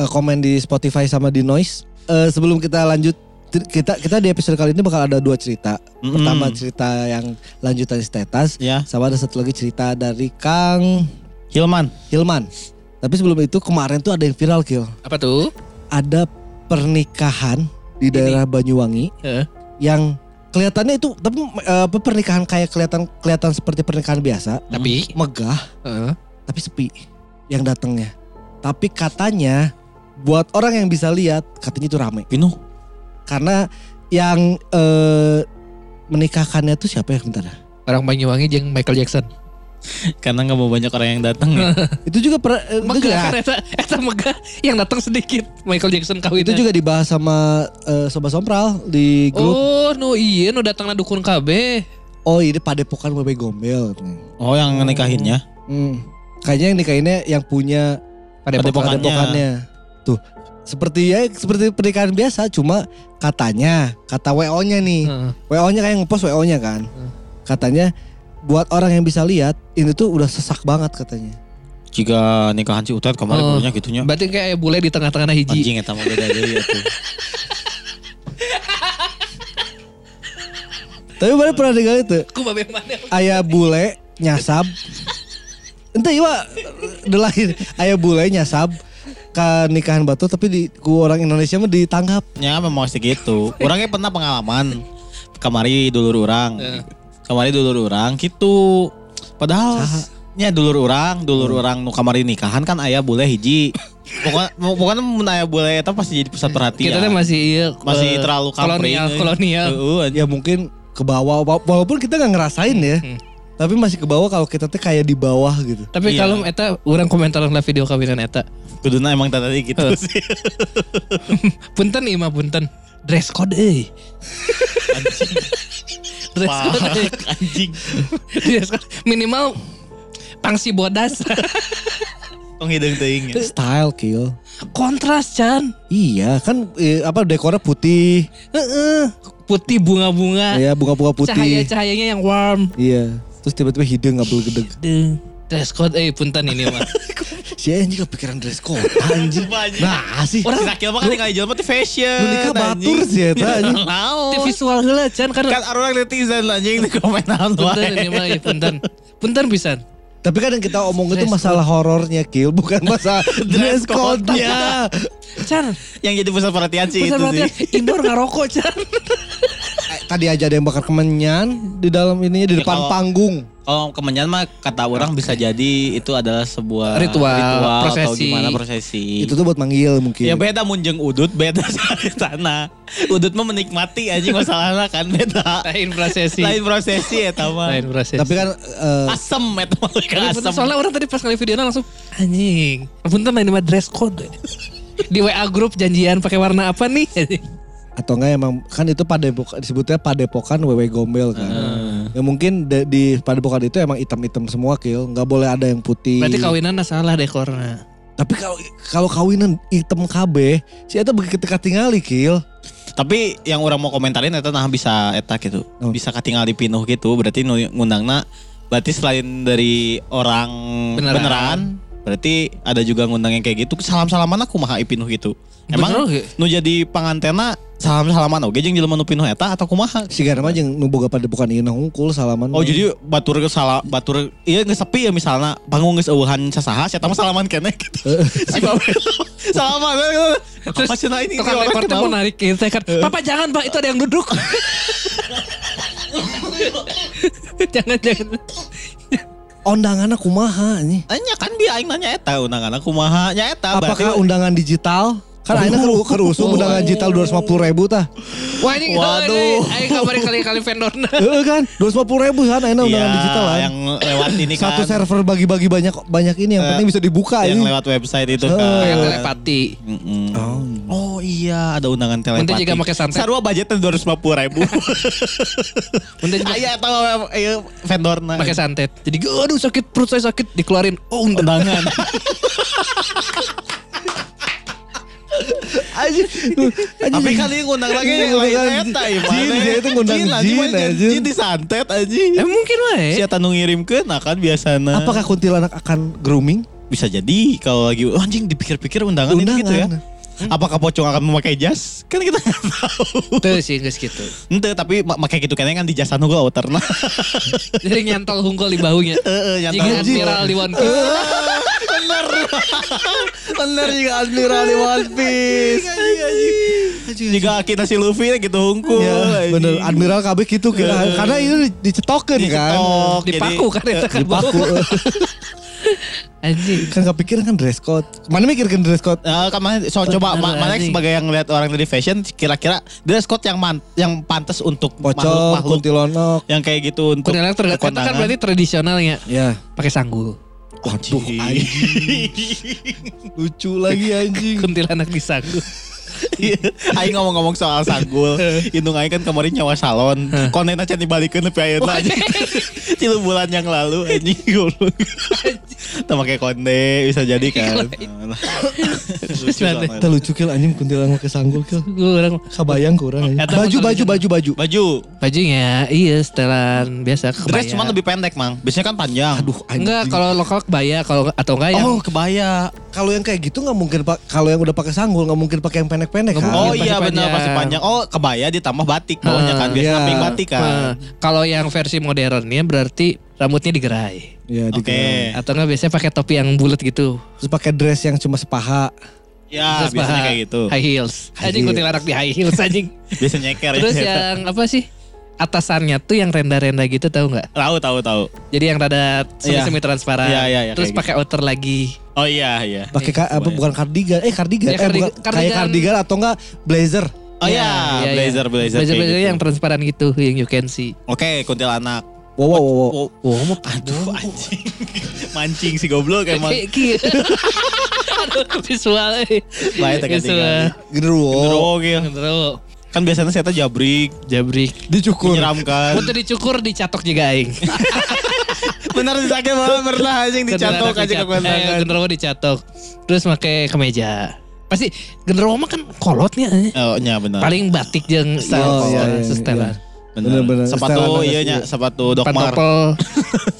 Speaker 4: eh, komen di Spotify sama di Noise. Eh, sebelum kita lanjut ti- kita kita di episode kali ini bakal ada dua cerita.
Speaker 3: Mm-mm.
Speaker 4: Pertama cerita yang lanjutan status
Speaker 3: ya
Speaker 4: sama ada satu lagi cerita dari Kang
Speaker 3: Hilman.
Speaker 4: Hilman. Tapi sebelum itu kemarin tuh ada yang viral kill.
Speaker 1: Apa tuh?
Speaker 4: Ada pernikahan di daerah Banyuwangi
Speaker 1: Heeh.
Speaker 4: yang kelihatannya itu tapi eh, apa pernikahan kayak kelihatan kelihatan seperti pernikahan biasa,
Speaker 1: Tapi eh,
Speaker 4: megah
Speaker 3: Hmm.
Speaker 1: heeh.
Speaker 4: tapi sepi yang datangnya. Tapi katanya buat orang yang bisa lihat katanya itu rame
Speaker 3: Pino.
Speaker 4: karena yang eh, menikahkannya tuh siapa ya bentar. ya?
Speaker 1: orang Banyuwangi jeung Michael Jackson.
Speaker 3: Karena nggak mau banyak orang yang datang ya.
Speaker 1: [laughs]
Speaker 4: Itu juga per, eh, itu juga,
Speaker 1: Megah kan eta eta megah yang datang sedikit Michael Jackson kawin.
Speaker 4: itu juga dibahas sama eh, sobat sompral di grup.
Speaker 1: Oh, nu iya nu datang dukun KB.
Speaker 4: Oh, ini padepokan Bebe Gombel katanya.
Speaker 3: Oh yang nikahinnya.
Speaker 4: Hmm. Kayaknya yang nikahinnya yang punya
Speaker 3: Padepokannya.
Speaker 4: padepokannya. Tuh, seperti ya seperti pernikahan biasa, cuma katanya, kata WO-nya
Speaker 3: Iya.
Speaker 4: nih.
Speaker 1: Heeh.
Speaker 4: WO-nya kayak ngepost WO-nya kan. Katanya buat orang yang bisa lihat, ini tuh udah sesak banget katanya.
Speaker 3: Jika nikahan si Utet kemarin
Speaker 1: Oh.
Speaker 3: punya gitunya.
Speaker 1: Berarti kayak bule di tengah-tengah hiji.
Speaker 3: Iya. Anjing eta mah beda ya, deui atuh.
Speaker 4: Tapi mana pernah dengar itu?
Speaker 1: Ku babe mana?
Speaker 4: Ayah bule nyasab. Ente iya delain ayah bule nyasab ke nikahan batu tapi di ku orang Indonesia mah ditanggap.
Speaker 3: Ya memang segitu. Orangnya pernah pengalaman. Kamari dulur orang.
Speaker 1: Eh.
Speaker 3: Kamari dulur orang gitu. Padahal nya dulur orang, dulur
Speaker 1: Oh.
Speaker 3: orang nu kamari nikahan kan ayah boleh hiji. [laughs] Bukan bukan mun aya boleh eta pasti jadi pusat perhatian.
Speaker 1: Kita teh masih iya,
Speaker 3: masih
Speaker 1: eh,
Speaker 3: terlalu Iya. kampring.
Speaker 1: kolonial kolonial.
Speaker 3: Heeh, anjing.
Speaker 4: ya mungkin ke bawah wa- walaupun kita nggak ngerasain ya
Speaker 1: Hmm.
Speaker 4: tapi masih ke bawah kalau kita tuh kayak di bawah gitu
Speaker 1: Tapi
Speaker 3: Iya.
Speaker 1: kalau eta orang komentaran lah video kawinan eta.
Speaker 3: Kuduna emang tadi gitu
Speaker 1: Eh.
Speaker 3: sih.
Speaker 1: Punten ima punten. Dress code euy.
Speaker 3: Anjing.
Speaker 1: Dress [laughs] code. euy.
Speaker 3: Pak, anjing.
Speaker 1: Dress code minimal pangsi bodas.
Speaker 3: Tong hidung teuing. ya.
Speaker 4: style kill
Speaker 1: Kontras Chan.
Speaker 4: iya kan eh, apa dekornya putih
Speaker 1: Heeh. Putih bunga-bunga.
Speaker 4: ya bunga-bunga putih
Speaker 1: Cahaya-cahayanya yang warm.
Speaker 4: iya terus tiba-tiba hidung nggak gedeg
Speaker 1: Deng. Dress code eh punten ini mah.
Speaker 4: si anjing kepikiran dress code anjing
Speaker 3: Sumpah, anjing.
Speaker 4: nah sih
Speaker 3: Orang sakil mah kan tinggal jelema teh fashion.
Speaker 4: Nu
Speaker 1: Nah,
Speaker 4: nikah batur
Speaker 3: anjing.
Speaker 4: sih eta, anjing.
Speaker 3: Laon.
Speaker 1: Itu visual heula Chan kan.
Speaker 3: kan orang netizen anjing di komenan
Speaker 1: Punten ini mah eh, punten. Punten pisan.
Speaker 4: tapi kan yang kita omong itu
Speaker 1: Dress
Speaker 4: masalah horornya kill bukan masalah dress code-nya
Speaker 1: Chan,
Speaker 3: [laughs] yang jadi pusat perhatian sih
Speaker 1: pusat
Speaker 3: itu
Speaker 1: perhatian
Speaker 3: sih
Speaker 1: indoor ngarokok Chan.
Speaker 4: Eh, tadi aja ada yang bakar kemenyan di dalam ininya di
Speaker 3: Ya,
Speaker 4: depan
Speaker 3: kalau-
Speaker 4: panggung
Speaker 3: kalau Oh, kemenyan mah kata orang bisa jadi itu adalah sebuah
Speaker 1: Ritual,
Speaker 3: atau
Speaker 1: prosesi.
Speaker 3: gimana prosesi
Speaker 4: itu tuh buat manggil mungkin
Speaker 3: Iya. ya beda munjeng udut beda [laughs] dari sana udut mah menikmati anjing masalahnya kan beda
Speaker 1: Lain prosesi.
Speaker 3: lain prosesi ya tama
Speaker 1: Lain prosesi.
Speaker 4: tapi kan eh,
Speaker 3: asem ya tama
Speaker 1: Tapi punten,
Speaker 3: asem
Speaker 1: Iya, soalnya orang tadi pas kali videonya langsung anjing. Punten lain mah dress code. Di WA grup janjian pakai warna apa nih?
Speaker 4: atau enggak emang kan itu padepok disebutnya padepokan wewe gombel kan. Ya mungkin de- di padepokan itu emang item-item semua kill, nggak boleh ada yang putih.
Speaker 1: Berarti kawinan salah dekornya.
Speaker 4: Tapi kalau kalau kawinan item KB, si eta begitu katingali kill.
Speaker 3: tapi yang orang mau komentarin eta nah bisa eta gitu
Speaker 4: Oh.
Speaker 3: bisa katingal di pinuh gitu berarti nu- ngundangna berarti selain dari orang
Speaker 1: Beneran.
Speaker 3: beneran, berarti ada juga ngundang yang kayak gitu salam salaman aku mah pinuh gitu emang
Speaker 1: Bener oge.
Speaker 3: nu jadi pangantena salam salaman oke jeung jelema nu pinuh eta atau kumaha
Speaker 4: Si Garma jeung nu boga padepokan ieu nah hungkul salaman.
Speaker 3: Oh jadi batur ke salah batur iya geus sepi ya misalnya panggung geus eueuhan sasaha sia mah salaman keneh gitu. [laughs] si Babel salaman. eh,
Speaker 1: Terus
Speaker 3: Masih lain nah, ini
Speaker 1: tukang
Speaker 3: orang
Speaker 1: rekor tuh
Speaker 3: kenapa?
Speaker 1: mau narik gitu kan. Papa jangan pak itu ada yang [laughs] duduk. jangan jangan.
Speaker 4: undanganna kumaha anjing?
Speaker 3: Anya kan dia aing nanya eta undangan aku maha nya eta
Speaker 4: Apakah
Speaker 3: berarti-
Speaker 4: undangan digital? Kan akhirnya keru kerusum undangan digital 250 ribu tah.
Speaker 1: Wah ini
Speaker 3: Waduh.
Speaker 1: Ayo kamari kali kali [laughs] vendorna.
Speaker 4: Heeh kan, 250 ribu kan akhirnya undangan
Speaker 3: Iya,
Speaker 4: digital kan.
Speaker 3: yang lewat
Speaker 4: [laughs]
Speaker 3: ini kan
Speaker 4: Satu server bagi-bagi banyak banyak ini yang
Speaker 3: Eh,
Speaker 4: penting bisa dibuka
Speaker 3: yang
Speaker 4: ini.
Speaker 3: lewat website itu
Speaker 4: Oh,
Speaker 3: kan
Speaker 1: Yang telepati.
Speaker 3: Mm-mm.
Speaker 4: Oh.
Speaker 3: Oh iya ada undangan telepati.
Speaker 1: Untuk juga pakai santet.
Speaker 3: Sarua budgetnya dua ratus lima puluh
Speaker 4: [laughs]
Speaker 3: ribu.
Speaker 1: Untuk juga
Speaker 3: Ayah tahu eh, vendorna.
Speaker 1: pakai santet. Jadi aduh sakit perut saya sakit dikeluarin. Oh undangan.
Speaker 3: undangan.
Speaker 4: Aji,
Speaker 3: Tapi kali ini ngundang lagi yang lain eta ieu
Speaker 4: Jin,
Speaker 3: mana?
Speaker 4: dia itu ngundang
Speaker 3: anjing,
Speaker 4: jin,
Speaker 3: mana
Speaker 4: anjing.
Speaker 3: Jin disantet aja.
Speaker 1: [laughs] Eh mungkin wae.
Speaker 3: Si Eta nu ngirimkeun nah kan biasana.
Speaker 4: apakah kuntilanak akan grooming?
Speaker 3: bisa jadi kalau lagi "Oh, anjing dipikir-pikir undangan,
Speaker 4: Undangan.
Speaker 3: ini gitu ya. Apakah pocong akan memakai jas? Kan kita nggak tahu.
Speaker 1: Tuh sih geus [laughs] kitu.
Speaker 3: Ente tapi ma- makai gitu kan kan di jasa nunggu outer [laughs] nah.
Speaker 1: Jadi nyantol hungkul di bahunya.
Speaker 3: Heeh,
Speaker 1: Jika
Speaker 3: nyata.
Speaker 1: admiral di One Piece.
Speaker 3: Bener.
Speaker 4: Bener juga Admiral di One Piece.
Speaker 3: Jika kita si Luffy gitu hungkul.
Speaker 4: Ya,
Speaker 3: anjing.
Speaker 4: bener Admiral KB gitu kan.
Speaker 3: Eh.
Speaker 4: Karena itu dicetokin kan.
Speaker 3: Dicetok, Oh, jadi-
Speaker 1: Dipaku kan itu kan
Speaker 4: Dipaku.
Speaker 1: bahu. Anjing.
Speaker 4: kan kepikiran kan dress code. Mana mikirkan dress code?
Speaker 3: Eh, kamu so, coba
Speaker 1: Bener,
Speaker 3: Ma- Malek
Speaker 1: anjing.
Speaker 3: sebagai yang lihat orang dari fashion kira-kira dress code yang man- yang pantas untuk
Speaker 4: Pocong, kuntilanak.
Speaker 3: yang kayak gitu untuk
Speaker 1: Kuntilanak terlihat itu kan
Speaker 3: kondangan.
Speaker 1: berarti tradisionalnya
Speaker 4: Ya.
Speaker 1: pakai sanggul.
Speaker 4: Waduh, anjing. Lucu lagi anjing.
Speaker 1: Kuntilanak di sanggul.
Speaker 3: Aing ngomong-ngomong soal sanggul, indung aing kan kemarin nyawa salon. Konten aja dibalikeun nepi ayeuna aja. [laughs] Tilu bulan yang lalu anjing goblok. Teu make konde bisa jadi kan. Lucu soalnya.
Speaker 4: Kita lucu kil anjing kuntilanak ke sanggul kil.
Speaker 1: Gue orang
Speaker 4: Kebayang kurang anjing.
Speaker 1: Eta
Speaker 4: Baju
Speaker 1: kuntilanak.
Speaker 4: baju baju baju.
Speaker 3: Baju,
Speaker 1: bajunya iya setelan biasa kebaya.
Speaker 3: dress cuma lebih pendek, Mang. Biasanya kan panjang.
Speaker 4: Aduh anjing.
Speaker 1: Enggak, kalau lokal kebaya kalau atau enggak yang
Speaker 4: Oh kebaya. Kalau yang kayak gitu nggak mungkin pak. Kalau yang udah pakai sanggul nggak mungkin pakai yang pendek-pendek kan.
Speaker 3: Oh
Speaker 1: Iya, pasti
Speaker 3: iya benar
Speaker 1: panjang.
Speaker 3: pasti panjang. Oh kebaya ditambah batik bawahnya kan biasanya
Speaker 4: iya.
Speaker 3: pink batik
Speaker 1: Eh,
Speaker 3: kan.
Speaker 1: kalau yang versi modernnya berarti rambutnya digerai
Speaker 4: Iya.
Speaker 3: Oke.
Speaker 4: digerak.
Speaker 1: atau enggak biasanya pakai topi yang bulat gitu.
Speaker 4: Terus pakai dress yang cuma sepaha.
Speaker 3: Ya, biasanya
Speaker 1: paha
Speaker 3: kayak gitu.
Speaker 1: High heels.
Speaker 4: High
Speaker 1: Anjing
Speaker 4: heels.
Speaker 1: kuntilanak di high heels anjing.
Speaker 3: Biasanya nyeker ya.
Speaker 1: Terus yang apa sih? Atasannya tuh yang renda-renda gitu tahu nggak?
Speaker 3: tahu tahu tahu.
Speaker 1: Jadi yang rada semi-semi transparan.
Speaker 3: Iya, iya, iya,
Speaker 1: Terus
Speaker 3: kayak
Speaker 1: pakai outer lagi.
Speaker 3: Oh iya iya.
Speaker 4: Pakai ka- apa?
Speaker 3: Kebayang.
Speaker 4: Bukan kardigan. Eh kardigan.
Speaker 1: Iya,
Speaker 4: eh,
Speaker 1: kardi-
Speaker 4: bukan, kayak
Speaker 1: kardigan.
Speaker 4: kardigan atau enggak blazer.
Speaker 3: Oh iya, blazer blazer.
Speaker 1: Blazer,
Speaker 3: kayak
Speaker 1: blazer
Speaker 3: gitu.
Speaker 1: yang transparan gitu yang you can see.
Speaker 3: Oke, kuntilanak.
Speaker 4: Wow wow wow. wow.
Speaker 3: Oh,
Speaker 1: Wow, mau
Speaker 3: aduh anjing. [laughs] Mancing si goblok emang.
Speaker 1: Kayak gitu. [laughs] Aduh, visual. eh.
Speaker 3: Baik, tekan
Speaker 1: Visual.
Speaker 4: Genderuwo.
Speaker 3: Genderuwo
Speaker 1: iya.
Speaker 3: gitu.
Speaker 1: Terus
Speaker 3: Kan biasanya saya jabrik,
Speaker 1: jabrik.
Speaker 4: Dicukur.
Speaker 3: menyeramkan.
Speaker 1: Untuk dicukur dicatok juga aing.
Speaker 3: Benar disake malah pernah anjing [laughs] dicatok aja ke
Speaker 1: Eh,
Speaker 3: kondangan.
Speaker 1: genderuwo dicatok. Terus pakai kemeja. Pasti genderuwo mah kan kolotnya. eh.
Speaker 3: Oh iya benar.
Speaker 1: Paling batik jeung style
Speaker 4: Oh,
Speaker 1: kolot,
Speaker 4: iya, iya,
Speaker 1: setelan.
Speaker 4: iya.
Speaker 3: benar.
Speaker 4: Bener-bener.
Speaker 3: Sepatu
Speaker 4: Setelan
Speaker 3: iya
Speaker 4: atas
Speaker 3: nya,
Speaker 4: dulu.
Speaker 3: sepatu dokmar.
Speaker 1: Pantopel.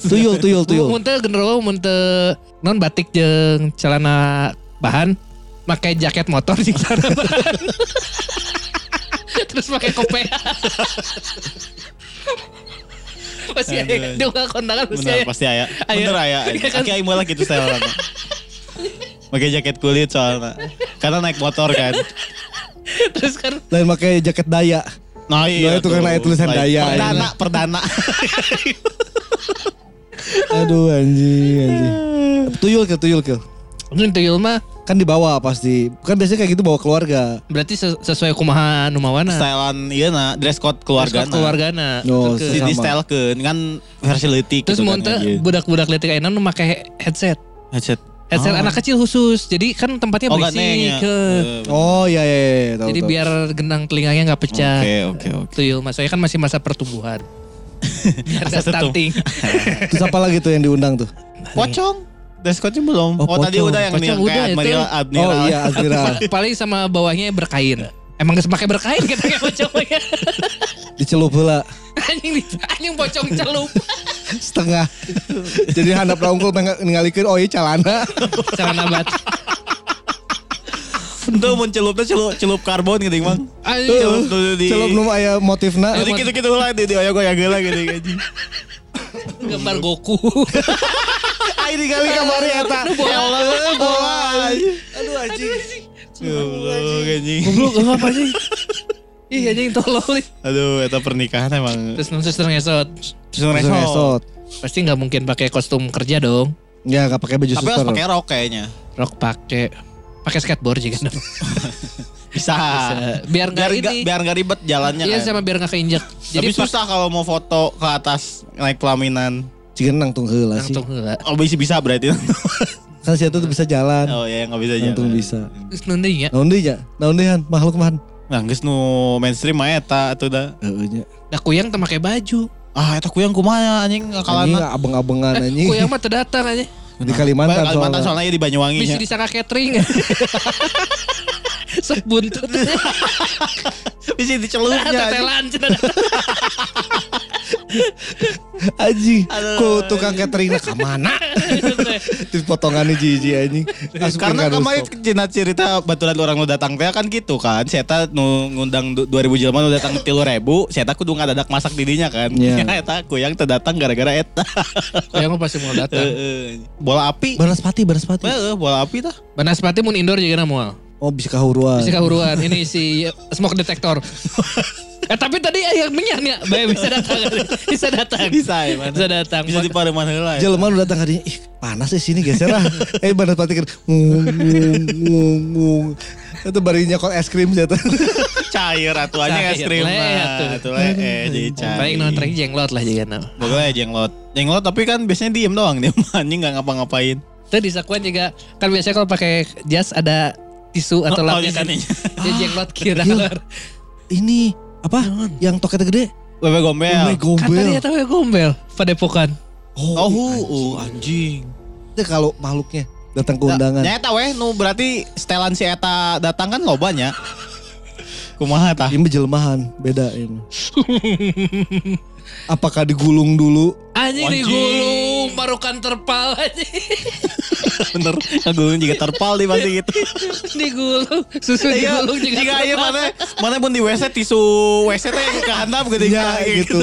Speaker 4: Tuyul tuyul tuyul.
Speaker 1: Mun teu genderuwo mun teu non batik jeung celana bahan pakai jaket motor jeung celana bahan. [laughs] Terus pakai kopea. Masih ada dua kondangan masih
Speaker 3: Bener
Speaker 1: aya.
Speaker 3: pasti aya.
Speaker 1: Aya.
Speaker 3: Bener aya.
Speaker 1: Iya kan?
Speaker 3: Aki aing mulai gitu setelan. Pakai jaket kulit soalnya. Karena naik motor kan.
Speaker 1: Terus kan
Speaker 4: Lain pakai jaket daya.
Speaker 3: Nah
Speaker 4: Nah, itu kan
Speaker 3: tuh.
Speaker 4: aya tulisan
Speaker 3: Lain.
Speaker 4: daya,
Speaker 3: Perdana, perdana.
Speaker 4: Aduh anjing anjing. Tuyul kil tuyul kil.
Speaker 1: mun tuyul mah
Speaker 4: Kan dibawa pasti. Kan biasanya kayak gitu bawa keluarga.
Speaker 1: berarti ses- sesuai kumaha nu mawana.
Speaker 3: Setelan iya na, dress code keluarga. nah.
Speaker 1: keluargana.
Speaker 4: Oh,
Speaker 1: Terus
Speaker 3: Si
Speaker 4: Sama.
Speaker 3: di style ke kan versi leutik
Speaker 1: Iya, terus
Speaker 3: gitu
Speaker 1: mun
Speaker 3: kan,
Speaker 1: teu
Speaker 3: anjing.
Speaker 1: budak-budak letik ayeuna nu make headset.
Speaker 3: headset
Speaker 1: Headset
Speaker 4: Ah.
Speaker 1: anak kecil khusus. Jadi kan tempatnya
Speaker 3: oh ganeng
Speaker 1: berisik.
Speaker 3: ya
Speaker 1: heh.
Speaker 4: Oh iya iya. iya, tahu,
Speaker 1: Jadi
Speaker 4: tahu.
Speaker 1: biar genang telinganya nggak pecah.
Speaker 3: oke oke oke
Speaker 1: Tuyul mas saya kan masih masa pertumbuhan. Biar nggak
Speaker 3: Masa pertum-
Speaker 1: stunting.
Speaker 4: [laughs] Terus apa lagi tuh yang diundang tuh?
Speaker 3: pocong dress code-nya belum
Speaker 4: Oh,
Speaker 3: oh, tadi
Speaker 4: pocong.
Speaker 3: udah yang
Speaker 1: Iya. Pocong
Speaker 3: nih
Speaker 1: udah
Speaker 3: kayak
Speaker 1: itu.
Speaker 3: Admiral Admiral [laughs]
Speaker 4: Oh iya Admiral.
Speaker 1: Paling sama bawahnya berkain. Emang gak pakai berkain kita kayak pocongnya.
Speaker 4: Dicelup pula
Speaker 1: anjing di- anjing pocong celup.
Speaker 4: setengah. Jadi handap unggul ninggalikeun oh iya calana.
Speaker 1: Celana bat.
Speaker 3: itu mun celupnya celup celup karbon gitu mang
Speaker 1: Anjing Ah, iya. celup.
Speaker 3: Celup dulu di
Speaker 4: Celup belum aya motifna.
Speaker 3: jadi gitu gitu lah di di oyo goyang geula gitu
Speaker 1: [laughs]
Speaker 3: gaji
Speaker 1: Gambar Goku.
Speaker 4: Ai ningali kamari eta.
Speaker 3: ya Allah bola
Speaker 4: Aduh anjing.
Speaker 3: Ya Goblok anjing
Speaker 1: Goblok apa [laughs] sih? Ih Iya, anjing tolol. ih.
Speaker 3: aduh itu pernikahan emang
Speaker 1: Terus nonton suster ngesot.
Speaker 4: Terus
Speaker 3: resort
Speaker 4: resort.
Speaker 1: Pasti nggak mungkin pakai kostum kerja dong.
Speaker 4: Ya gak pakai baju
Speaker 3: tapi harus
Speaker 4: suster.
Speaker 3: pakai rok kayaknya
Speaker 1: Rok pakai pakai skateboard juga dong.
Speaker 3: bisa
Speaker 1: Biar nggak
Speaker 3: biar nggak
Speaker 1: ini.
Speaker 3: biar nggak ribet jalannya
Speaker 1: Iya
Speaker 3: kan.
Speaker 1: sama biar nggak keinjek.
Speaker 3: Tapi
Speaker 1: pas-
Speaker 3: susah kalau mau foto ke atas naik pelaminan.
Speaker 4: Cigen nangtung heula sih.
Speaker 1: Langsung enggak.
Speaker 3: Oh bisa bisa berarti. [laughs]
Speaker 4: Kan si itu bisa jalan.
Speaker 3: oh ya nggak bisa aja.
Speaker 4: Nangtung bisa.
Speaker 1: Terus nunding ya.
Speaker 4: Naon deui nya? Naon deui han? Makhluk mahan.
Speaker 3: Nah geus nu mainstream mah eta atuh da.
Speaker 4: Heeh nya.
Speaker 1: Nah kuyang teu make baju.
Speaker 3: Ah eta kuyang kumaha anjing
Speaker 4: Anjing
Speaker 3: ngakalan.
Speaker 4: abeng-abengan anjing.
Speaker 1: Kuyang mah teu datang aja.
Speaker 4: Di Kalimantan
Speaker 3: Eh, Kalimantan
Speaker 4: soalnya.
Speaker 1: [laughs]
Speaker 3: Iya. ya. soalnya ya di Banyuwangi
Speaker 1: Bisa
Speaker 3: nya.
Speaker 1: disangka catering. sebuntut
Speaker 3: Bisa dicelupnya.
Speaker 1: [laughs] tetelan
Speaker 4: Aji,
Speaker 3: Aduh. iya.
Speaker 4: ku tukang catering ke
Speaker 3: [laughs]
Speaker 4: mana? Terus potongannya jiji anjing. Asup
Speaker 3: Karena
Speaker 4: ke
Speaker 3: kemarin
Speaker 4: rooftop.
Speaker 3: cina cerita baturan orang nu datang teh kan gitu kan. Seta nu ngundang du- 2000 jelema nu datang 3000, seta kudu ngadadak masak didinya kan.
Speaker 4: Iya.
Speaker 3: Ya [laughs] eta yang teu datang gara-gara eta.
Speaker 1: Oh, Yang lo pasti mau datang.
Speaker 3: Heeh. Bola api.
Speaker 4: Banaspati, Banaspati.
Speaker 3: Heeh, eh, bola api tah.
Speaker 1: Banaspati mun indoor juga mau.
Speaker 4: Oh, bisa kahuruan.
Speaker 1: Si kahuruan ini si smoke
Speaker 3: [laughs]
Speaker 1: detector. eh tapi tadi yang minyaknya Bae bisa
Speaker 3: [laughs]
Speaker 1: datang. bisa datang.
Speaker 3: Bisa ya,
Speaker 1: Eh, Bisa datang.
Speaker 3: Bisa di pareman heula. ya.
Speaker 4: Jelema lu datang hadinya, ih panas sih sini geser [laughs] ah. eh Banaspati kan ngung ngung ngung ngung. Itu barinya kok es krim jatuh.
Speaker 3: Cair atuannya es
Speaker 1: Cair,
Speaker 3: krim.
Speaker 1: le,
Speaker 3: mah.
Speaker 1: atuh.
Speaker 3: Atuh le, eh jadi cair.
Speaker 1: Paling non trik jenglot lah juga nah. no.
Speaker 3: Boga ya jenglot. Jenglot tapi kan biasanya diem doang [laughs] dia mah, anjing nggak ngapa-ngapain.
Speaker 1: Tadi sakuan juga kan biasanya kalau pakai jas ada tisu atau
Speaker 3: Oh,
Speaker 1: lapnya
Speaker 3: di
Speaker 1: kan.
Speaker 3: sininya.
Speaker 1: [laughs] Dia jenglot kira.
Speaker 3: Iya,
Speaker 1: Kan
Speaker 4: Gila. [laughs] Ini apa? Yang toketnya gede?
Speaker 3: Bebe
Speaker 4: Oh
Speaker 1: Kan
Speaker 3: gombel.
Speaker 4: my
Speaker 1: tadi
Speaker 4: gombel.
Speaker 1: tahu ya gombel padepokan.
Speaker 4: iya.
Speaker 3: Oh, hu,
Speaker 4: anjing.
Speaker 3: uh, anjing.
Speaker 4: Itu kalau makhluknya datang ke undangan.
Speaker 3: Nyata weh, nu berarti setelan si Eta datang kan lobanya. Kumaha tah?
Speaker 4: Ini jelemahan, beda [laughs] ini. Apakah digulung dulu?
Speaker 1: Anjing
Speaker 3: Anjing.
Speaker 1: digulung barukan terpal anjing. Iya,
Speaker 3: Bener, ngegulung juga terpal di pasti
Speaker 1: [laughs]
Speaker 3: gitu.
Speaker 1: digulung susu
Speaker 3: Iya,
Speaker 1: digulung juga.
Speaker 3: jika iya
Speaker 1: terpal.
Speaker 3: mana mana pun di WC tisu WC teh kehandap gitu
Speaker 4: Ya, gitu.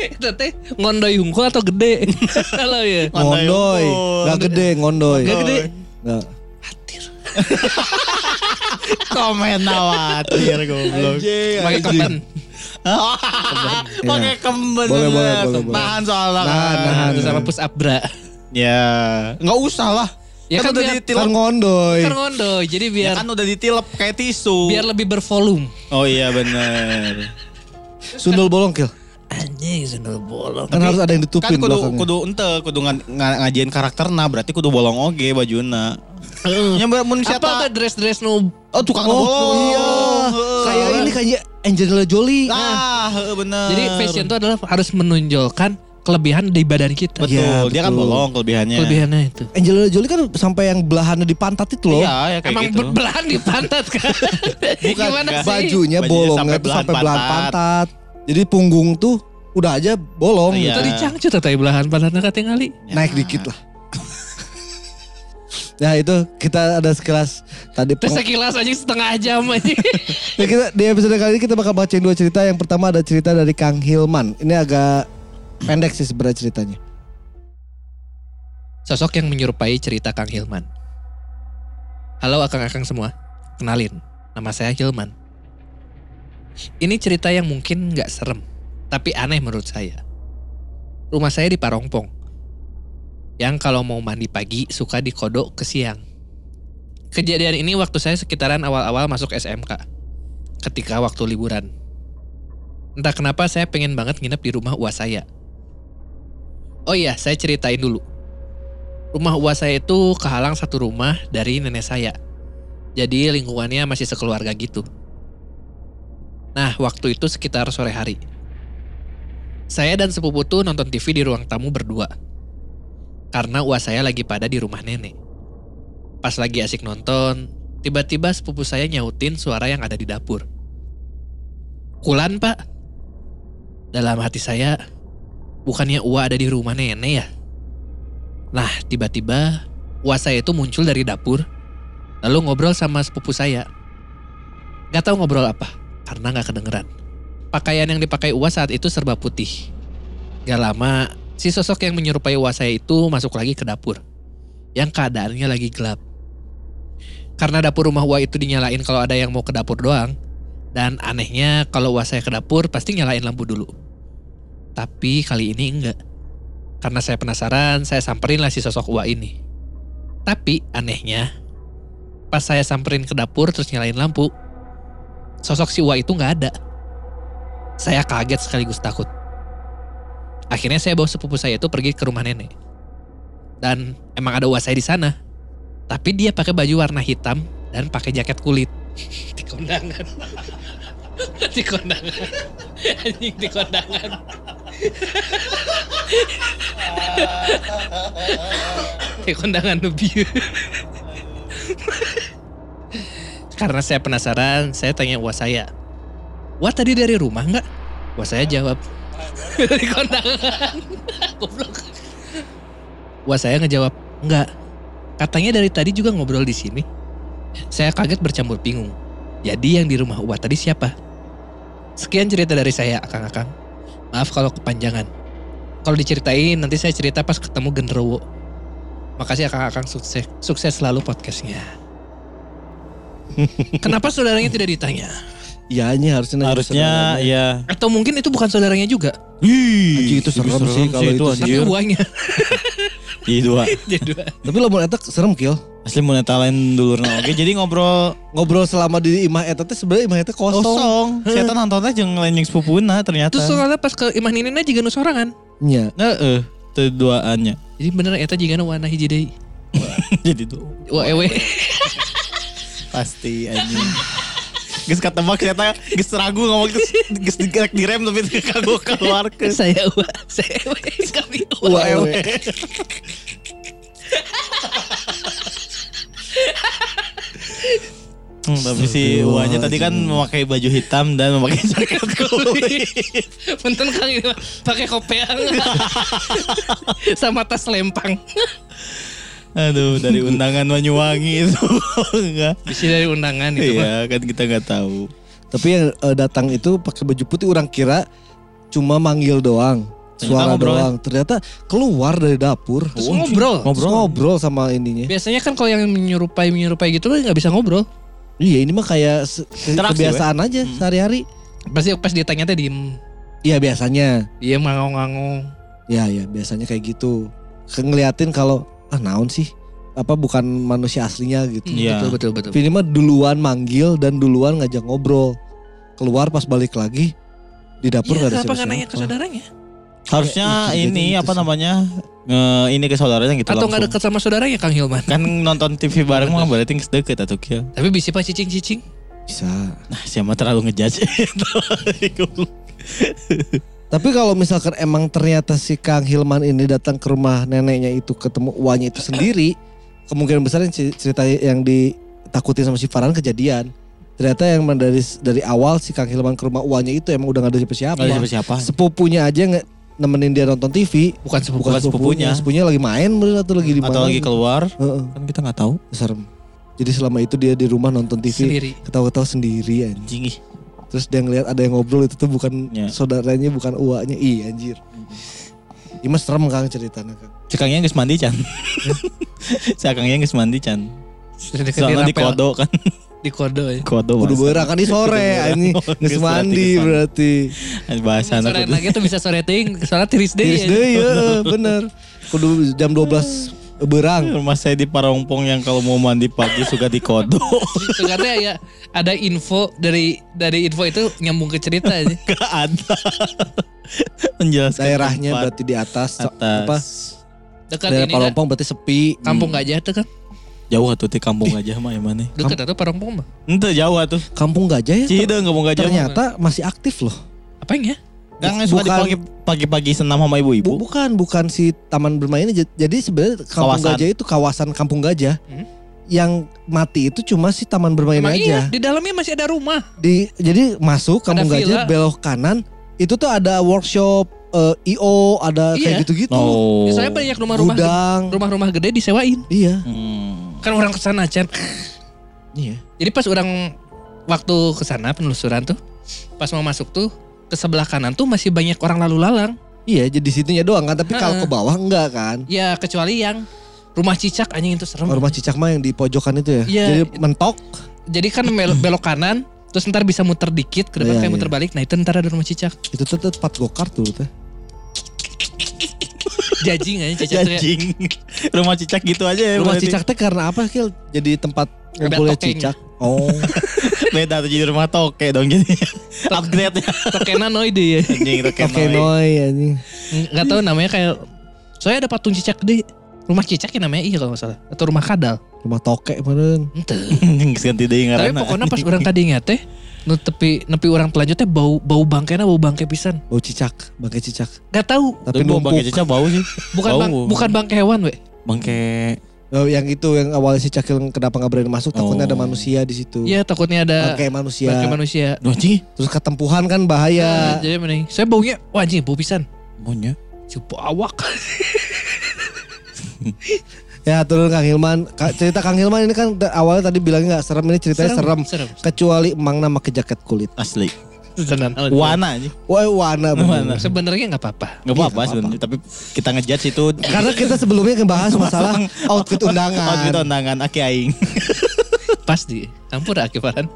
Speaker 1: Itu teh ngondoy hungkul atau gede? [laughs] Kalau ya.
Speaker 4: Ngondoy, nggak gede ngondoy.
Speaker 1: Nggak gede.
Speaker 4: Nggak.
Speaker 3: Komen awatir goblok. iya,
Speaker 1: Pakai
Speaker 4: Anjing. [laughs] Iya.
Speaker 1: kemben.
Speaker 3: Pakai kemben.
Speaker 4: Boleh,
Speaker 3: bener.
Speaker 4: boleh, boleh, boleh.
Speaker 3: Nahan soalnya.
Speaker 4: Nahan, nahan.
Speaker 1: Terus Nah, sama push up bra.
Speaker 3: Ya, nggak usah lah.
Speaker 1: Ya kan
Speaker 3: udah
Speaker 1: biar-
Speaker 4: Kan
Speaker 3: ditilep.
Speaker 4: ngondoy.
Speaker 1: Kan ngondoy. Jadi
Speaker 3: Ya
Speaker 1: biar
Speaker 3: kan udah ditilep kayak tisu.
Speaker 1: biar lebih bervolume.
Speaker 3: Oh iya bener.
Speaker 4: Sundul bolong kill.
Speaker 1: Anjing sundul bolong.
Speaker 4: Kan harus ada yang
Speaker 3: kan
Speaker 4: ditutupin
Speaker 3: kudu
Speaker 4: belakangnya.
Speaker 3: kudu ente kudu nga- nga- ngajian karakterna berarti kudu bolong oge bajuna nya mbak mun
Speaker 1: Hmm. eh, Apa
Speaker 3: siapa
Speaker 1: tuh dress-dress nu
Speaker 3: oh tukang
Speaker 4: Oh,
Speaker 3: bolong
Speaker 4: iya.
Speaker 3: Heeh.
Speaker 4: Kayak ini kayak Angelina Jolie.
Speaker 3: ah heeh, bener
Speaker 1: Nah. Jadi fashion itu adalah harus menonjolkan kelebihan di badan kita.
Speaker 3: betul
Speaker 4: Iya,
Speaker 3: dia kan
Speaker 4: betul.
Speaker 3: bolong kelebihannya
Speaker 1: Kelebihannya itu.
Speaker 4: Angelina Jolie kan sampai yang belahannya di pantat itu loh.
Speaker 3: iya ya kayak
Speaker 1: Emang
Speaker 3: gitu
Speaker 1: belahan di pantat kan? [laughs] Gimana
Speaker 3: enggak.
Speaker 1: sih?
Speaker 4: Bajunya
Speaker 3: Bajunya
Speaker 4: bolongnya
Speaker 3: sampai
Speaker 4: tuh
Speaker 3: belahan
Speaker 4: sampai belahan
Speaker 3: pantat.
Speaker 4: pantat. Jadi punggung tuh udah aja bolong.
Speaker 3: Iya.
Speaker 1: Itu dicangcut atau ya belahan pantatnya katingali.
Speaker 4: Naik dikit lah. [laughs] Nah itu kita ada sekelas tadi
Speaker 1: Terus
Speaker 4: peng-
Speaker 1: sekilas aja setengah jam aja.
Speaker 4: Ya, kita, di episode kali ini kita bakal bacain dua cerita. Yang pertama ada cerita dari Kang Hilman. Ini agak pendek sih sebenarnya ceritanya.
Speaker 1: Sosok yang menyerupai cerita Kang Hilman. Halo akang-akang semua, kenalin, nama saya Hilman. Ini cerita yang mungkin nggak serem, tapi aneh menurut saya. Rumah saya di Parongpong, yang kalau mau mandi pagi suka dikodok ke siang. Kejadian ini waktu saya sekitaran awal-awal masuk SMK, ketika waktu liburan. Entah kenapa saya pengen banget nginep di rumah uas saya. Oh iya, saya ceritain dulu. Rumah uas saya itu kehalang satu rumah dari nenek saya. Jadi lingkungannya masih sekeluarga gitu. Nah, waktu itu sekitar sore hari. Saya dan sepupu tuh nonton TV di ruang tamu berdua. Karena uas saya lagi pada di rumah nenek. Pas lagi asik nonton, tiba-tiba sepupu saya nyautin suara yang ada di dapur. Kulan, Pak. Dalam hati saya, bukannya Ua ada di rumah nenek ya? Nah, tiba-tiba Wah saya itu muncul dari dapur, lalu ngobrol sama sepupu saya. Gak tahu ngobrol apa, karena gak kedengeran. Pakaian yang dipakai Uwa saat itu serba putih. Gak lama, si sosok yang menyerupai Uwa saya itu masuk lagi ke dapur. Yang keadaannya lagi gelap. Karena dapur rumah Uwa itu dinyalain kalau ada yang mau ke dapur doang. Dan anehnya kalau Uwa saya ke dapur pasti nyalain lampu dulu. Tapi kali ini enggak. Karena saya penasaran, saya samperin lah si sosok Ua ini. Tapi anehnya, pas saya samperin ke dapur terus nyalain lampu, sosok si Ua itu nggak ada. Saya kaget sekaligus takut. Akhirnya saya bawa sepupu saya itu pergi ke rumah nenek. Dan emang ada Ua saya di sana. Tapi dia pakai baju warna hitam dan pakai jaket kulit. [laughs] di kondangan. [laughs] di kondangan. [laughs] Anjing di kondangan. Teh kondangan nu bieu. Karena saya penasaran, saya tanya wah saya. Wah tadi dari rumah nggak? Wah saya jawab. dari kondangan. [laughs] Goblok. Wah saya ngejawab, nggak. Katanya dari tadi juga ngobrol di sini. Saya kaget bercampur bingung. Jadi yang di rumah Wah tadi siapa? Sekian cerita dari saya, Akang-akang. Maaf kalau kepanjangan. Kalau diceritain, nanti saya cerita pas ketemu Genderuwo. Makasih Akang-akang sukses, sukses selalu podcastnya. Kenapa saudaranya tidak ditanya?
Speaker 4: Iya ini harusnya nanya
Speaker 3: Harusnya
Speaker 4: saudaranya.
Speaker 3: ya.
Speaker 1: Atau mungkin itu bukan saudaranya juga,
Speaker 3: Ih,
Speaker 4: Anjing, itu serem sih kalau itu sih.
Speaker 1: tapi
Speaker 3: anjir.
Speaker 1: uangnya.
Speaker 3: Iya dua.
Speaker 1: [laughs] Jadi dua.
Speaker 4: Tapi lamun eta serem kill.
Speaker 3: Asli mau neta lain dulu nah. Oke, jadi ngobrol
Speaker 4: Ngobrol selama di imah eta teh sebenarnya imah eta kosong.
Speaker 3: kosong. Setan nontonnya jeung lain jeung sepupuna ternyata.
Speaker 1: Terus soalnya pas ke Iman ini na jiga nu sorangan.
Speaker 4: Nya.
Speaker 3: Heeh, teu duaannya. [laughs]
Speaker 1: Jadi bener eta jiga nu warna hiji deui.
Speaker 3: Jadi tuh
Speaker 1: Wah ewe.
Speaker 3: pasti anjing. [laughs] Geus katebak ternyata geus ragu ngomong geus geus digerek direm tapi teu kago keluar ke.
Speaker 1: [laughs] saya wa, saya ewe kami
Speaker 4: Wah,
Speaker 1: wa.
Speaker 4: ewe.
Speaker 3: Hmm, tapi si Uanya tadi kan memakai baju hitam dan memakai [laughs] jaket kulit.
Speaker 1: [laughs] Punten Kang ini mah, pakai kopeang [laughs] sama tas lempang.
Speaker 3: Aduh, [laughs] dari undangan Banyuwangi itu enggak.
Speaker 1: Bisa dari undangan itu mah.
Speaker 3: [laughs] Iya, kan kita nggak tahu.
Speaker 4: Tapi yang eh, datang itu pakai baju putih orang kira cuma manggil doang.
Speaker 3: Ternyata
Speaker 4: Suara
Speaker 3: ngobrol.
Speaker 4: doang. Ternyata keluar dari dapur.
Speaker 1: Terus
Speaker 4: Terus
Speaker 1: ya? Oh, ngobrol.
Speaker 4: Ngobrol. ngobrol sama ininya.
Speaker 1: Biasanya kan kalau yang menyerupai menyerupai gitu kan nggak bisa ngobrol.
Speaker 4: Iya ini mah kayak se- ke-
Speaker 3: Interaksi,
Speaker 1: ya?
Speaker 4: kebiasaan aja
Speaker 1: Hmm.
Speaker 4: sehari-hari.
Speaker 1: Pasti pas ditanya teh diem,
Speaker 4: Iya biasanya.
Speaker 1: dia ngangong-ngangong.
Speaker 4: Ya ya biasanya kayak gitu. Ke- Ngeliatin kalau ah naon sih apa bukan manusia aslinya gitu.
Speaker 3: Iya.
Speaker 1: Hmm. Betul betul betul.
Speaker 4: Vini mah duluan manggil dan duluan ngajak ngobrol. Keluar pas balik lagi di dapur
Speaker 1: Iya,
Speaker 4: nggak ada
Speaker 1: kenapa nggak
Speaker 4: siapa-siapa.
Speaker 1: nanya ke saudaranya?
Speaker 3: Harusnya
Speaker 4: Kayak
Speaker 3: ini
Speaker 4: gitu
Speaker 3: apa
Speaker 4: sih.
Speaker 3: namanya? nge ini ke saudaranya gitu
Speaker 1: Atau nggak
Speaker 3: langsung.
Speaker 1: dekat sama saudaranya Kang Hilman?
Speaker 3: Kan nonton TV bareng mah berarti geus deket atuh kieu.
Speaker 1: Tapi bisa pak cicing-cicing.
Speaker 4: Bisa.
Speaker 3: Nah, siapa terlalu ngejudge.
Speaker 4: Tapi kalau misalkan emang ternyata si Kang Hilman ini datang ke rumah neneknya itu ketemu uangnya itu sendiri, kemungkinan besar yang ci- cerita yang ditakutin sama si Farhan kejadian. Ternyata yang men- dari dari awal si Kang Hilman ke rumah uangnya itu emang udah gak ada siapa-siapa.
Speaker 3: Enggak siapa siapa.
Speaker 4: Sepupunya aja nge- nemenin dia nonton TV.
Speaker 1: Bukan sepupu.
Speaker 3: Bukan sepupunya.
Speaker 4: sepupunya lagi main mungkin atau lagi di mana.
Speaker 3: Atau lagi keluar,
Speaker 4: Heeh,
Speaker 3: kan kita nggak tahu.
Speaker 4: serem. Jadi selama itu dia di rumah nonton TV
Speaker 1: Sendiri.
Speaker 4: ketawa-ketawa sendiri anjing.
Speaker 3: Anjing ih.
Speaker 4: Terus dia ngelihat ada yang ngobrol itu tuh bukan
Speaker 3: Ya.
Speaker 4: saudaranya, bukan uaknya. Ih anjir. Ini mah serem Kang ceritanya kan. Kang.
Speaker 3: Cekangnya geus mandi [laughs] Chan. Cekangnya geus mandi Chan. Soalnya di
Speaker 1: rapel.
Speaker 3: kodo kan. [laughs]
Speaker 1: Di kodo ya.
Speaker 3: Kodo.
Speaker 4: Udah
Speaker 3: bahasa.
Speaker 4: berak kan ini
Speaker 3: [laughs]
Speaker 4: sore anjing. Geus
Speaker 3: Geus
Speaker 4: mandi berarti.
Speaker 3: Bahasa anak
Speaker 1: Sore
Speaker 3: kudu.
Speaker 1: lagi tuh bisa sore ting, soalnya tiris deh. ya.
Speaker 4: Tiris deui heeh, iya, bener. Kudu jam 12 berang.
Speaker 3: Rumah saya di Parongpong yang kalau mau mandi pagi suka di [laughs] kodo.
Speaker 1: Sekarang ya ada info dari dari info itu nyambung ke cerita ya. aja.
Speaker 3: Gak ada. Menjelaskan
Speaker 4: Daerahnya
Speaker 3: tempat
Speaker 4: berarti di atas, so-
Speaker 3: atas.
Speaker 4: apa?
Speaker 1: Dekat
Speaker 4: Daerah
Speaker 1: ini kan,
Speaker 4: Parompong berarti sepi.
Speaker 1: kampung gajah tuh kan.
Speaker 3: Jauh atuh di kampung aja mah yang mana?
Speaker 1: Dekat atau Parongpong mah.
Speaker 3: Ente jauh atuh.
Speaker 4: Kampung Gajah ya.
Speaker 3: Cihideng kampung gajah.
Speaker 4: Ternyata masih aktif loh.
Speaker 1: Apanya?
Speaker 3: Kan yang suka
Speaker 4: Bukan-
Speaker 3: dipakai pagi-pagi senam sama
Speaker 4: Bu-
Speaker 3: ibu-ibu.
Speaker 4: bukan, bukan si taman bermain ini. Jadi sebenarnya kampung
Speaker 3: Kawasan.
Speaker 4: gajah itu kawasan kampung gajah.
Speaker 1: Hmm.
Speaker 4: Yang mati itu cuma si taman bermain
Speaker 1: Emang iya,
Speaker 4: aja.
Speaker 1: di dalamnya masih ada rumah.
Speaker 4: Di jadi masuk kampung
Speaker 1: Ada
Speaker 4: gajah
Speaker 1: villa.
Speaker 4: belok kanan itu tuh ada workshop eh, IO, ada kayak
Speaker 1: Iya.
Speaker 4: gitu-gitu.
Speaker 3: Oh.
Speaker 1: Soalnya banyak rumah-rumah gede-
Speaker 4: Gudang.
Speaker 1: rumah-rumah gede disewain.
Speaker 4: Iya.
Speaker 3: Hmm.
Speaker 1: Kan orang kesana Chan.
Speaker 4: Iya.
Speaker 1: Jadi pas orang waktu kesana penelusuran tuh, pas mau masuk tuh ke sebelah kanan tuh masih banyak orang lalu lalang.
Speaker 4: Iya, jadi situnya doang kan, tapi kalau
Speaker 1: Heeh.
Speaker 4: ke bawah enggak kan.
Speaker 1: Ya kecuali yang rumah cicak anjing itu serem.
Speaker 4: Rumah cicak mah yang di pojokan itu ya.
Speaker 1: Iya.
Speaker 4: Jadi mentok.
Speaker 1: Jadi kan
Speaker 4: [clears throat]
Speaker 1: mel- belok kanan, terus ntar bisa muter dikit ke depan
Speaker 4: Iya,
Speaker 1: kayak
Speaker 4: iya.
Speaker 1: muter balik. Nah itu ntar ada rumah
Speaker 4: [laughs]
Speaker 1: cicak.
Speaker 4: Itu tuh tuh tempat gokar tuh. tuh.
Speaker 1: Jajing aja cicak tuh ya.
Speaker 3: Jajing. [laughs] Rumah cicak gitu aja ya.
Speaker 4: Rumah
Speaker 3: berarti.
Speaker 4: cicak teh karena apa, Kil? Jadi tempat
Speaker 1: Ada
Speaker 4: ngumpulnya
Speaker 1: tokeng.
Speaker 4: cicak.
Speaker 3: [laughs]
Speaker 4: Oh.
Speaker 3: Beda tuh jadi rumah toke dong jadi. Upgrade ya.
Speaker 1: Tokenoid
Speaker 4: [laughs]
Speaker 1: ya.
Speaker 3: Anjing
Speaker 4: Oke,
Speaker 3: tokenoid.
Speaker 4: noy anjing.
Speaker 1: Gak tau namanya kayak. Soalnya ada patung cicak gede. Rumah cicak ya namanya iya kalau nggak salah. Atau rumah kadal.
Speaker 4: rumah tokek meren
Speaker 1: Ente.
Speaker 3: Anjing geus ganti deui
Speaker 1: Tapi
Speaker 3: ngaranna.
Speaker 1: pokoknya pas orang tadi ingat teh. Nu tepi, nepi orang telanjut teh bau bau bangkainya bau bangkai pisan.
Speaker 4: bau Oh, cicak bangkai cicak
Speaker 1: Gak tahu.
Speaker 4: tapi
Speaker 3: bau
Speaker 4: numpuk
Speaker 3: bangke cicak bau sih.
Speaker 1: Bukan
Speaker 3: Bau.
Speaker 1: bang, bukan bangkai hewan we.
Speaker 3: Bangke
Speaker 4: Eh, yang itu yang awalnya si Cakil kenapa nggak berani masuk takutnya
Speaker 3: Oh.
Speaker 4: ada manusia di situ.
Speaker 1: Iya takutnya ada
Speaker 4: Bangkai manusia.
Speaker 1: bangkai manusia. Hmm, Iya.
Speaker 3: Duh anjing,
Speaker 4: Terus ketempuhan kan bahaya.
Speaker 1: Jadi mending saya baunya wah anjing bau pisan.
Speaker 3: maunya.
Speaker 1: Coba awak.
Speaker 4: Ya turun Kang Hilman. Ka- cerita Kang Hilman ini kan da- awalnya tadi bilangnya nggak serem ini ceritanya serem.
Speaker 1: Serem.
Speaker 4: Kecuali emang nama ke jaket kulit.
Speaker 3: Asli.
Speaker 1: Tenan.
Speaker 3: Wana anjing.
Speaker 4: Wah wana
Speaker 3: Wana.
Speaker 4: bener.
Speaker 1: Sebenarnya nggak apa-apa.
Speaker 3: Gak
Speaker 4: Iya, nggak
Speaker 3: apa-apa sebenarnya, tapi kita ngejudge itu
Speaker 4: Karena kita sebelumnya ngebahas masalah outfit undangan.
Speaker 3: outfit undangan aki aing.
Speaker 1: Pasti. Campur Aki Farhan.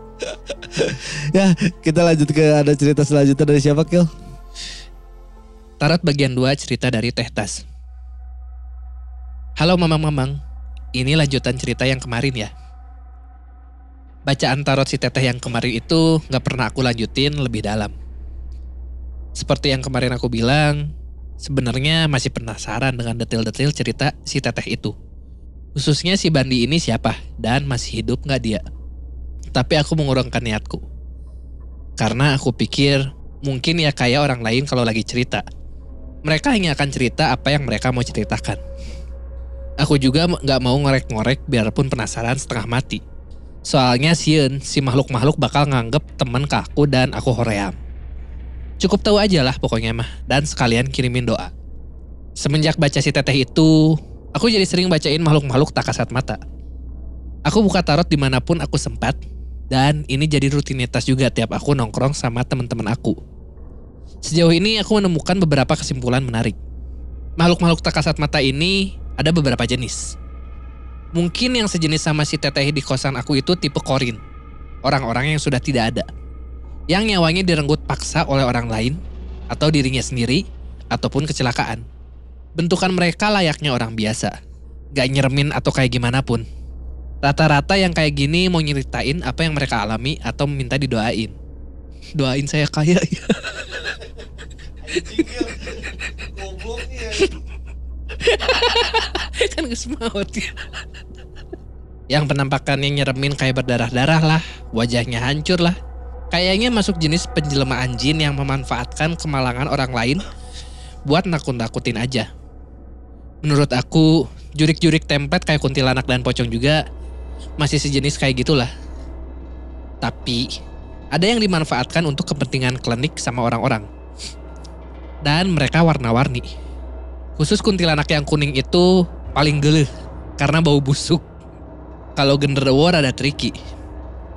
Speaker 4: Ya kita lanjut ke ada cerita selanjutnya dari siapa Kil?
Speaker 1: Tarot bagian 2 cerita dari Teh Tas. Halo Mamang-Mamang, ini lanjutan cerita yang kemarin ya. Bacaan tarot si Teteh yang kemarin itu nggak pernah aku lanjutin lebih dalam. Seperti yang kemarin aku bilang, sebenarnya masih penasaran dengan detail-detail cerita si Teteh itu. Khususnya si Bandi ini siapa dan masih hidup nggak dia. Tapi aku mengurungkan niatku. Karena aku pikir mungkin ya kayak orang lain kalau lagi cerita. Mereka hanya akan cerita apa yang mereka mau ceritakan. Aku juga m- nggak mau ngorek-ngorek biarpun penasaran setengah mati. Soalnya Sieun, si makhluk-makhluk bakal nganggep temen ke aku dan aku hoream. Cukup tahu aja lah pokoknya mah, dan sekalian kirimin doa. Semenjak baca si teteh itu, aku jadi sering bacain makhluk-makhluk tak kasat mata. Aku buka tarot dimanapun aku sempat, dan ini jadi rutinitas juga tiap aku nongkrong sama teman-teman aku. Sejauh ini aku menemukan beberapa kesimpulan menarik. Makhluk-makhluk tak kasat mata ini ada beberapa jenis. Mungkin yang sejenis sama si teteh di kosan aku itu tipe korin. Orang-orang yang sudah tidak ada. Yang nyawanya direnggut paksa oleh orang lain, atau dirinya sendiri, ataupun kecelakaan. Bentukan mereka layaknya orang biasa. Gak nyeremin atau kayak gimana pun. Rata-rata yang kayak gini mau nyeritain apa yang mereka alami atau minta didoain. Doain saya kaya ya. kan geus maot ya. Yang penampakannya nyeremin kayak berdarah-darah lah, wajahnya hancur lah. Kayaknya masuk jenis penjelmaan jin yang memanfaatkan kemalangan orang lain buat nakut-nakutin aja. Menurut aku, jurik-jurik template kayak kuntilanak dan pocong juga masih sejenis kayak gitulah. Tapi ada yang dimanfaatkan untuk kepentingan klinik sama orang-orang. Dan mereka warna-warni. Khusus kuntilanak yang kuning itu paling geleh karena bau busuk. Kalau genderwo rada tricky.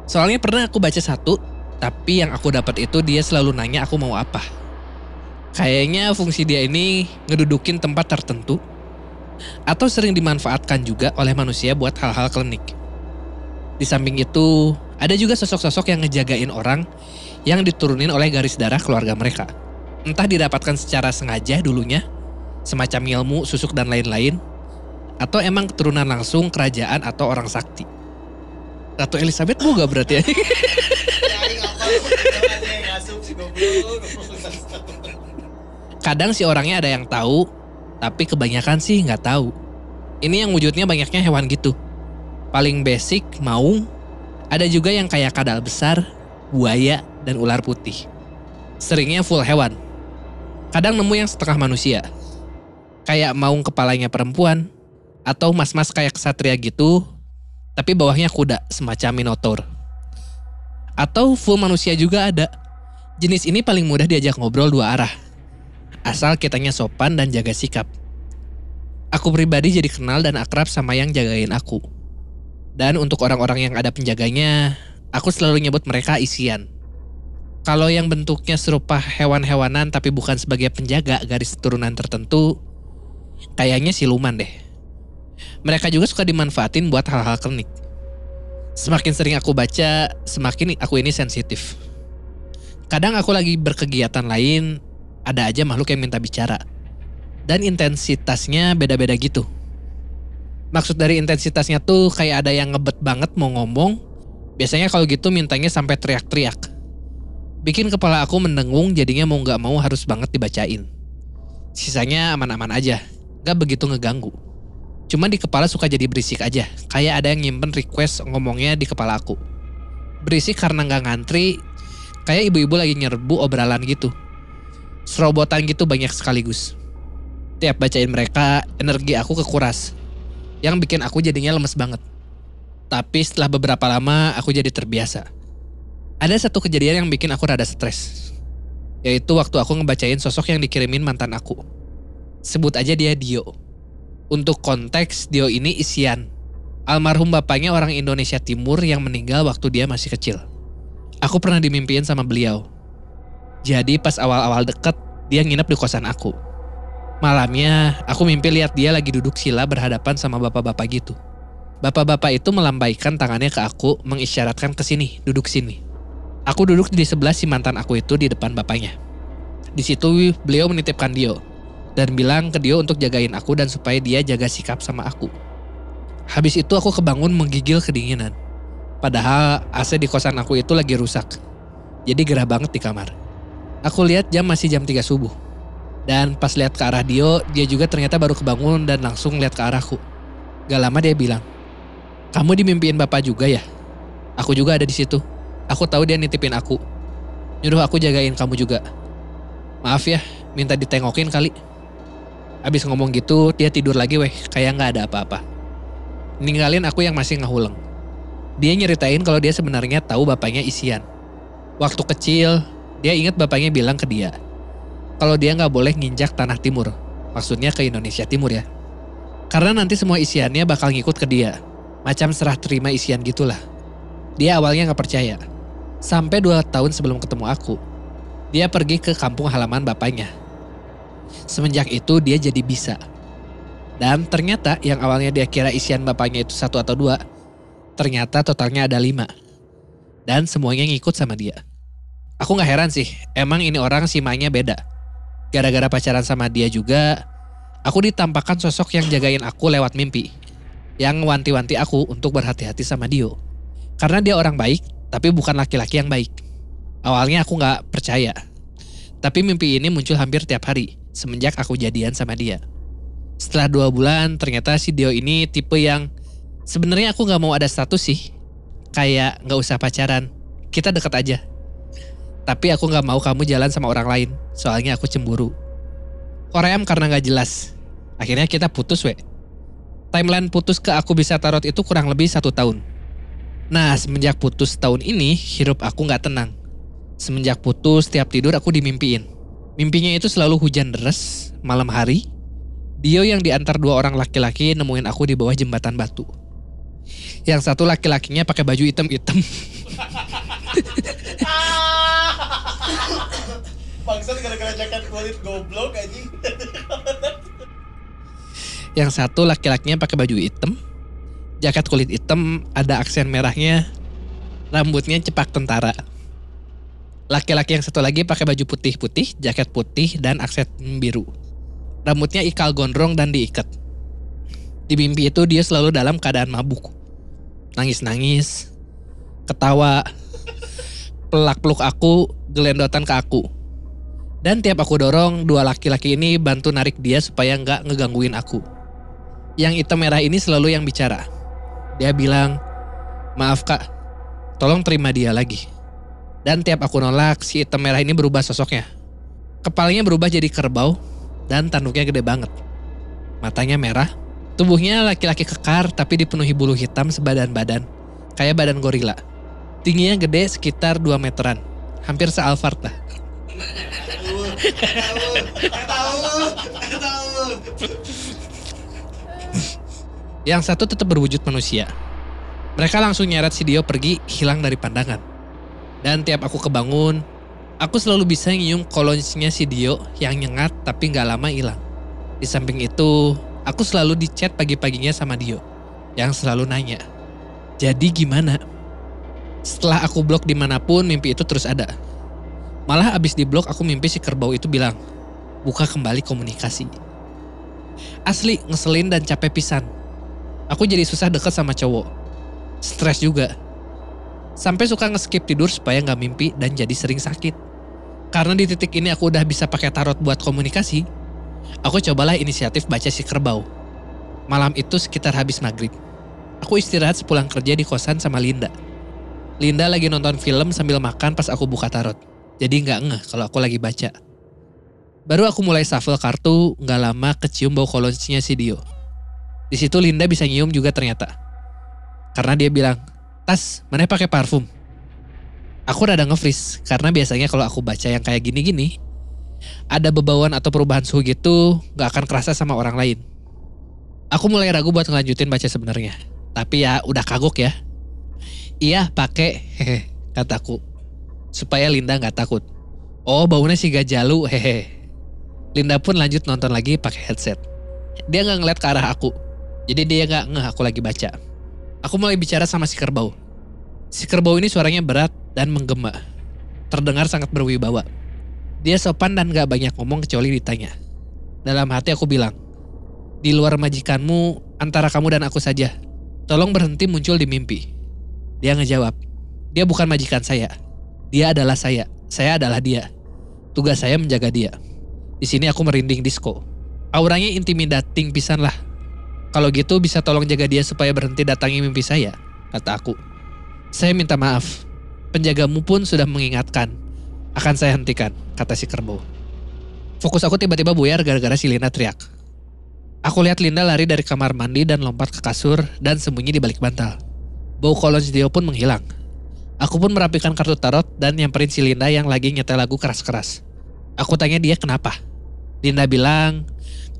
Speaker 1: Soalnya pernah aku baca satu, tapi yang aku dapat itu dia selalu nanya aku mau apa. Kayaknya fungsi dia ini ngedudukin tempat tertentu atau sering dimanfaatkan juga oleh manusia buat hal-hal klinik. Di samping itu, ada juga sosok-sosok yang ngejagain orang yang diturunin oleh garis darah keluarga mereka. Entah didapatkan secara sengaja dulunya, semacam ilmu, susuk, dan lain-lain, atau emang keturunan langsung kerajaan atau orang sakti. Ratu Elizabeth boga berarti ya. Kadang si orangnya ada yang tahu, tapi kebanyakan sih nggak tahu. Ini yang wujudnya banyaknya hewan gitu. Paling basic, maung. Ada juga yang kayak kadal besar, buaya, dan ular putih. Seringnya full hewan. Kadang nemu yang setengah manusia. Kayak maung kepalanya perempuan. Atau mas-mas kayak kesatria gitu. Tapi bawahnya kuda, semacam minotaur. Atau full manusia juga ada. Jenis ini paling mudah diajak ngobrol dua arah asal kitanya sopan dan jaga sikap. Aku pribadi jadi kenal dan akrab sama yang jagain aku. Dan untuk orang-orang yang ada penjaganya, aku selalu nyebut mereka isian. Kalau yang bentuknya serupa hewan-hewanan tapi bukan sebagai penjaga garis keturunan tertentu, kayaknya siluman deh. Mereka juga suka dimanfaatin buat hal-hal klinik. Semakin sering aku baca, semakin aku ini sensitif. Kadang aku lagi berkegiatan lain, ada aja makhluk yang minta bicara. Dan intensitasnya beda-beda gitu. Maksud dari intensitasnya tuh kayak ada yang ngebet banget mau ngomong. Biasanya kalau gitu mintanya sampai teriak-teriak. Bikin kepala aku mendengung jadinya mau nggak mau harus banget dibacain. Sisanya aman-aman aja, nggak begitu ngeganggu. Cuman di kepala suka jadi berisik aja, kayak ada yang nyimpen request ngomongnya di kepala aku. Berisik karena nggak ngantri, kayak ibu-ibu lagi nyerbu obralan gitu serobotan gitu banyak sekaligus. Tiap bacain mereka, energi aku kekuras. yang bikin aku jadinya lemes banget. Tapi setelah beberapa lama aku jadi terbiasa. Ada satu kejadian yang bikin aku rada stres. Yaitu waktu aku ngebacain sosok yang dikirimin mantan aku. Sebut aja dia Dio. Untuk konteks, Dio ini isian. Almarhum bapaknya orang Indonesia Timur yang meninggal waktu dia masih kecil. Aku pernah dimimpiin sama beliau. Jadi pas awal-awal deket, dia nginep di kosan aku. Malamnya, aku mimpi lihat dia lagi duduk sila berhadapan sama bapak-bapak gitu. Bapak-bapak itu melambaikan tangannya ke aku, mengisyaratkan ke sini, duduk sini. Aku duduk di sebelah si mantan aku itu di depan bapaknya. Di situ beliau menitipkan Dio dan bilang ke Dio untuk jagain aku dan supaya dia jaga sikap sama aku. Habis itu aku kebangun menggigil kedinginan. Padahal AC di kosan aku itu lagi rusak. Jadi gerah banget di kamar. Aku lihat jam masih jam 3 subuh. Dan pas lihat ke arah Dio, dia juga ternyata baru kebangun dan langsung lihat ke arahku. Gak lama dia bilang, "Kamu dimimpiin Bapak juga ya?" Aku juga ada di situ. Aku tahu dia nitipin aku. Nyuruh aku jagain kamu juga. Maaf ya, minta ditengokin kali. Abis ngomong gitu, dia tidur lagi weh, kayak nggak ada apa-apa. Ninggalin aku yang masih ngehuleng. Dia nyeritain kalau dia sebenarnya tahu bapaknya isian. Waktu kecil, dia ingat bapaknya bilang ke dia, kalau dia nggak boleh nginjak tanah timur. Maksudnya ke Indonesia Timur ya. Karena nanti semua isiannya bakal ngikut ke dia. Macam serah terima isian gitulah. Dia awalnya nggak percaya. Sampai dua tahun sebelum ketemu aku, dia pergi ke kampung halaman bapaknya. Semenjak itu dia jadi bisa. Dan ternyata yang awalnya dia kira isian bapaknya itu satu atau dua, ternyata totalnya ada lima. Dan semuanya ngikut sama dia. Aku nggak heran sih, emang ini orang simanya beda. Gara-gara pacaran sama dia juga, aku ditampakkan sosok yang jagain aku lewat mimpi. Yang wanti-wanti aku untuk berhati-hati sama Dio. Karena dia orang baik, tapi bukan laki-laki yang baik. Awalnya aku nggak percaya. Tapi mimpi ini muncul hampir tiap hari, semenjak aku jadian sama dia. Setelah dua bulan, ternyata si Dio ini tipe yang sebenarnya aku nggak mau ada status sih. Kayak nggak usah pacaran, kita deket aja. Tapi aku nggak mau kamu jalan sama orang lain, soalnya aku cemburu. Koream karena nggak jelas. Akhirnya kita putus, we. Timeline putus ke aku bisa tarot itu kurang lebih satu tahun. Nah, semenjak putus tahun ini, hidup aku nggak tenang. Semenjak putus, tiap tidur aku dimimpiin. Mimpinya itu selalu hujan deras, malam hari. Dio yang diantar dua orang laki-laki nemuin aku di bawah jembatan batu. Yang satu laki-lakinya pakai baju hitam-hitam.
Speaker 3: Bangsat gara-gara jaket kulit goblok anjing.
Speaker 1: Yang satu laki-lakinya pakai baju hitam, jaket kulit hitam, ada aksen merahnya, rambutnya cepak tentara. Laki-laki yang satu lagi pakai baju putih-putih, jaket putih, dan aksen biru. Rambutnya ikal gondrong dan diikat. Di mimpi itu dia selalu dalam keadaan mabuk. Nangis-nangis, ketawa, pelak-peluk aku, gelendotan ke aku. Dan tiap aku dorong, dua laki-laki ini bantu narik dia supaya nggak ngegangguin aku. Yang hitam merah ini selalu yang bicara. Dia bilang, maaf kak, tolong terima dia lagi. Dan tiap aku nolak, si hitam merah ini berubah sosoknya. Kepalanya berubah jadi kerbau, dan tanduknya gede banget. Matanya merah, tubuhnya laki-laki kekar tapi dipenuhi bulu hitam sebadan-badan, kayak badan gorila. Tingginya gede sekitar 2 meteran, hampir sealvart lah. Yang satu tetap berwujud manusia. Mereka langsung nyeret si Dio pergi, hilang dari pandangan. Dan tiap aku kebangun, aku selalu bisa nyium kolonsnya si Dio yang nyengat tapi nggak lama hilang. Di samping itu, aku selalu dicat pagi-paginya sama Dio, yang selalu nanya, jadi gimana? Setelah aku blok dimanapun, mimpi itu terus ada. Malah abis di blok, aku mimpi si kerbau itu bilang, buka kembali komunikasi. Asli, ngeselin dan capek pisan. Aku jadi susah deket sama cowok. Stres juga. Sampai suka nge-skip tidur supaya nggak mimpi dan jadi sering sakit. Karena di titik ini aku udah bisa pakai tarot buat komunikasi, aku cobalah inisiatif baca si kerbau. Malam itu sekitar habis maghrib. Aku istirahat sepulang kerja di kosan sama Linda. Linda lagi nonton film sambil makan pas aku buka tarot. Jadi nggak ngeh kalau aku lagi baca. Baru aku mulai shuffle kartu, nggak lama kecium bau kolonsnya si Dio. Di situ Linda bisa nyium juga ternyata. Karena dia bilang, "Tas, mana pakai parfum?" Aku rada nge-freeze karena biasanya kalau aku baca yang kayak gini-gini, ada bebauan atau perubahan suhu gitu nggak akan kerasa sama orang lain. Aku mulai ragu buat ngelanjutin baca sebenarnya. Tapi ya udah kagok ya. Iya pakai, hehe, kataku. Supaya Linda nggak takut. Oh baunya si gajalu, hehe. Linda pun lanjut nonton lagi pakai headset. Dia nggak ngeliat ke arah aku. Jadi dia nggak ngeh aku lagi baca. Aku mulai bicara sama si kerbau. Si kerbau ini suaranya berat dan menggema. Terdengar sangat berwibawa. Dia sopan dan gak banyak ngomong kecuali ditanya. Dalam hati aku bilang, di luar majikanmu, antara kamu dan aku saja. Tolong berhenti muncul di mimpi. Dia ngejawab, dia bukan majikan saya. Dia adalah saya. Saya adalah dia. Tugas saya menjaga dia. Di sini aku merinding disco. Auranya intimidating pisan lah. Kalau gitu bisa tolong jaga dia supaya berhenti datangi mimpi saya, kata aku. Saya minta maaf. Penjagamu pun sudah mengingatkan. Akan saya hentikan, kata si kerbau. Fokus aku tiba-tiba buyar gara-gara si Lina teriak. Aku lihat Linda lari dari kamar mandi dan lompat ke kasur dan sembunyi di balik bantal. Bau kolon si Dio pun menghilang. Aku pun merapikan kartu tarot dan nyamperin si Linda yang lagi nyetel lagu keras-keras. Aku tanya dia kenapa. Linda bilang,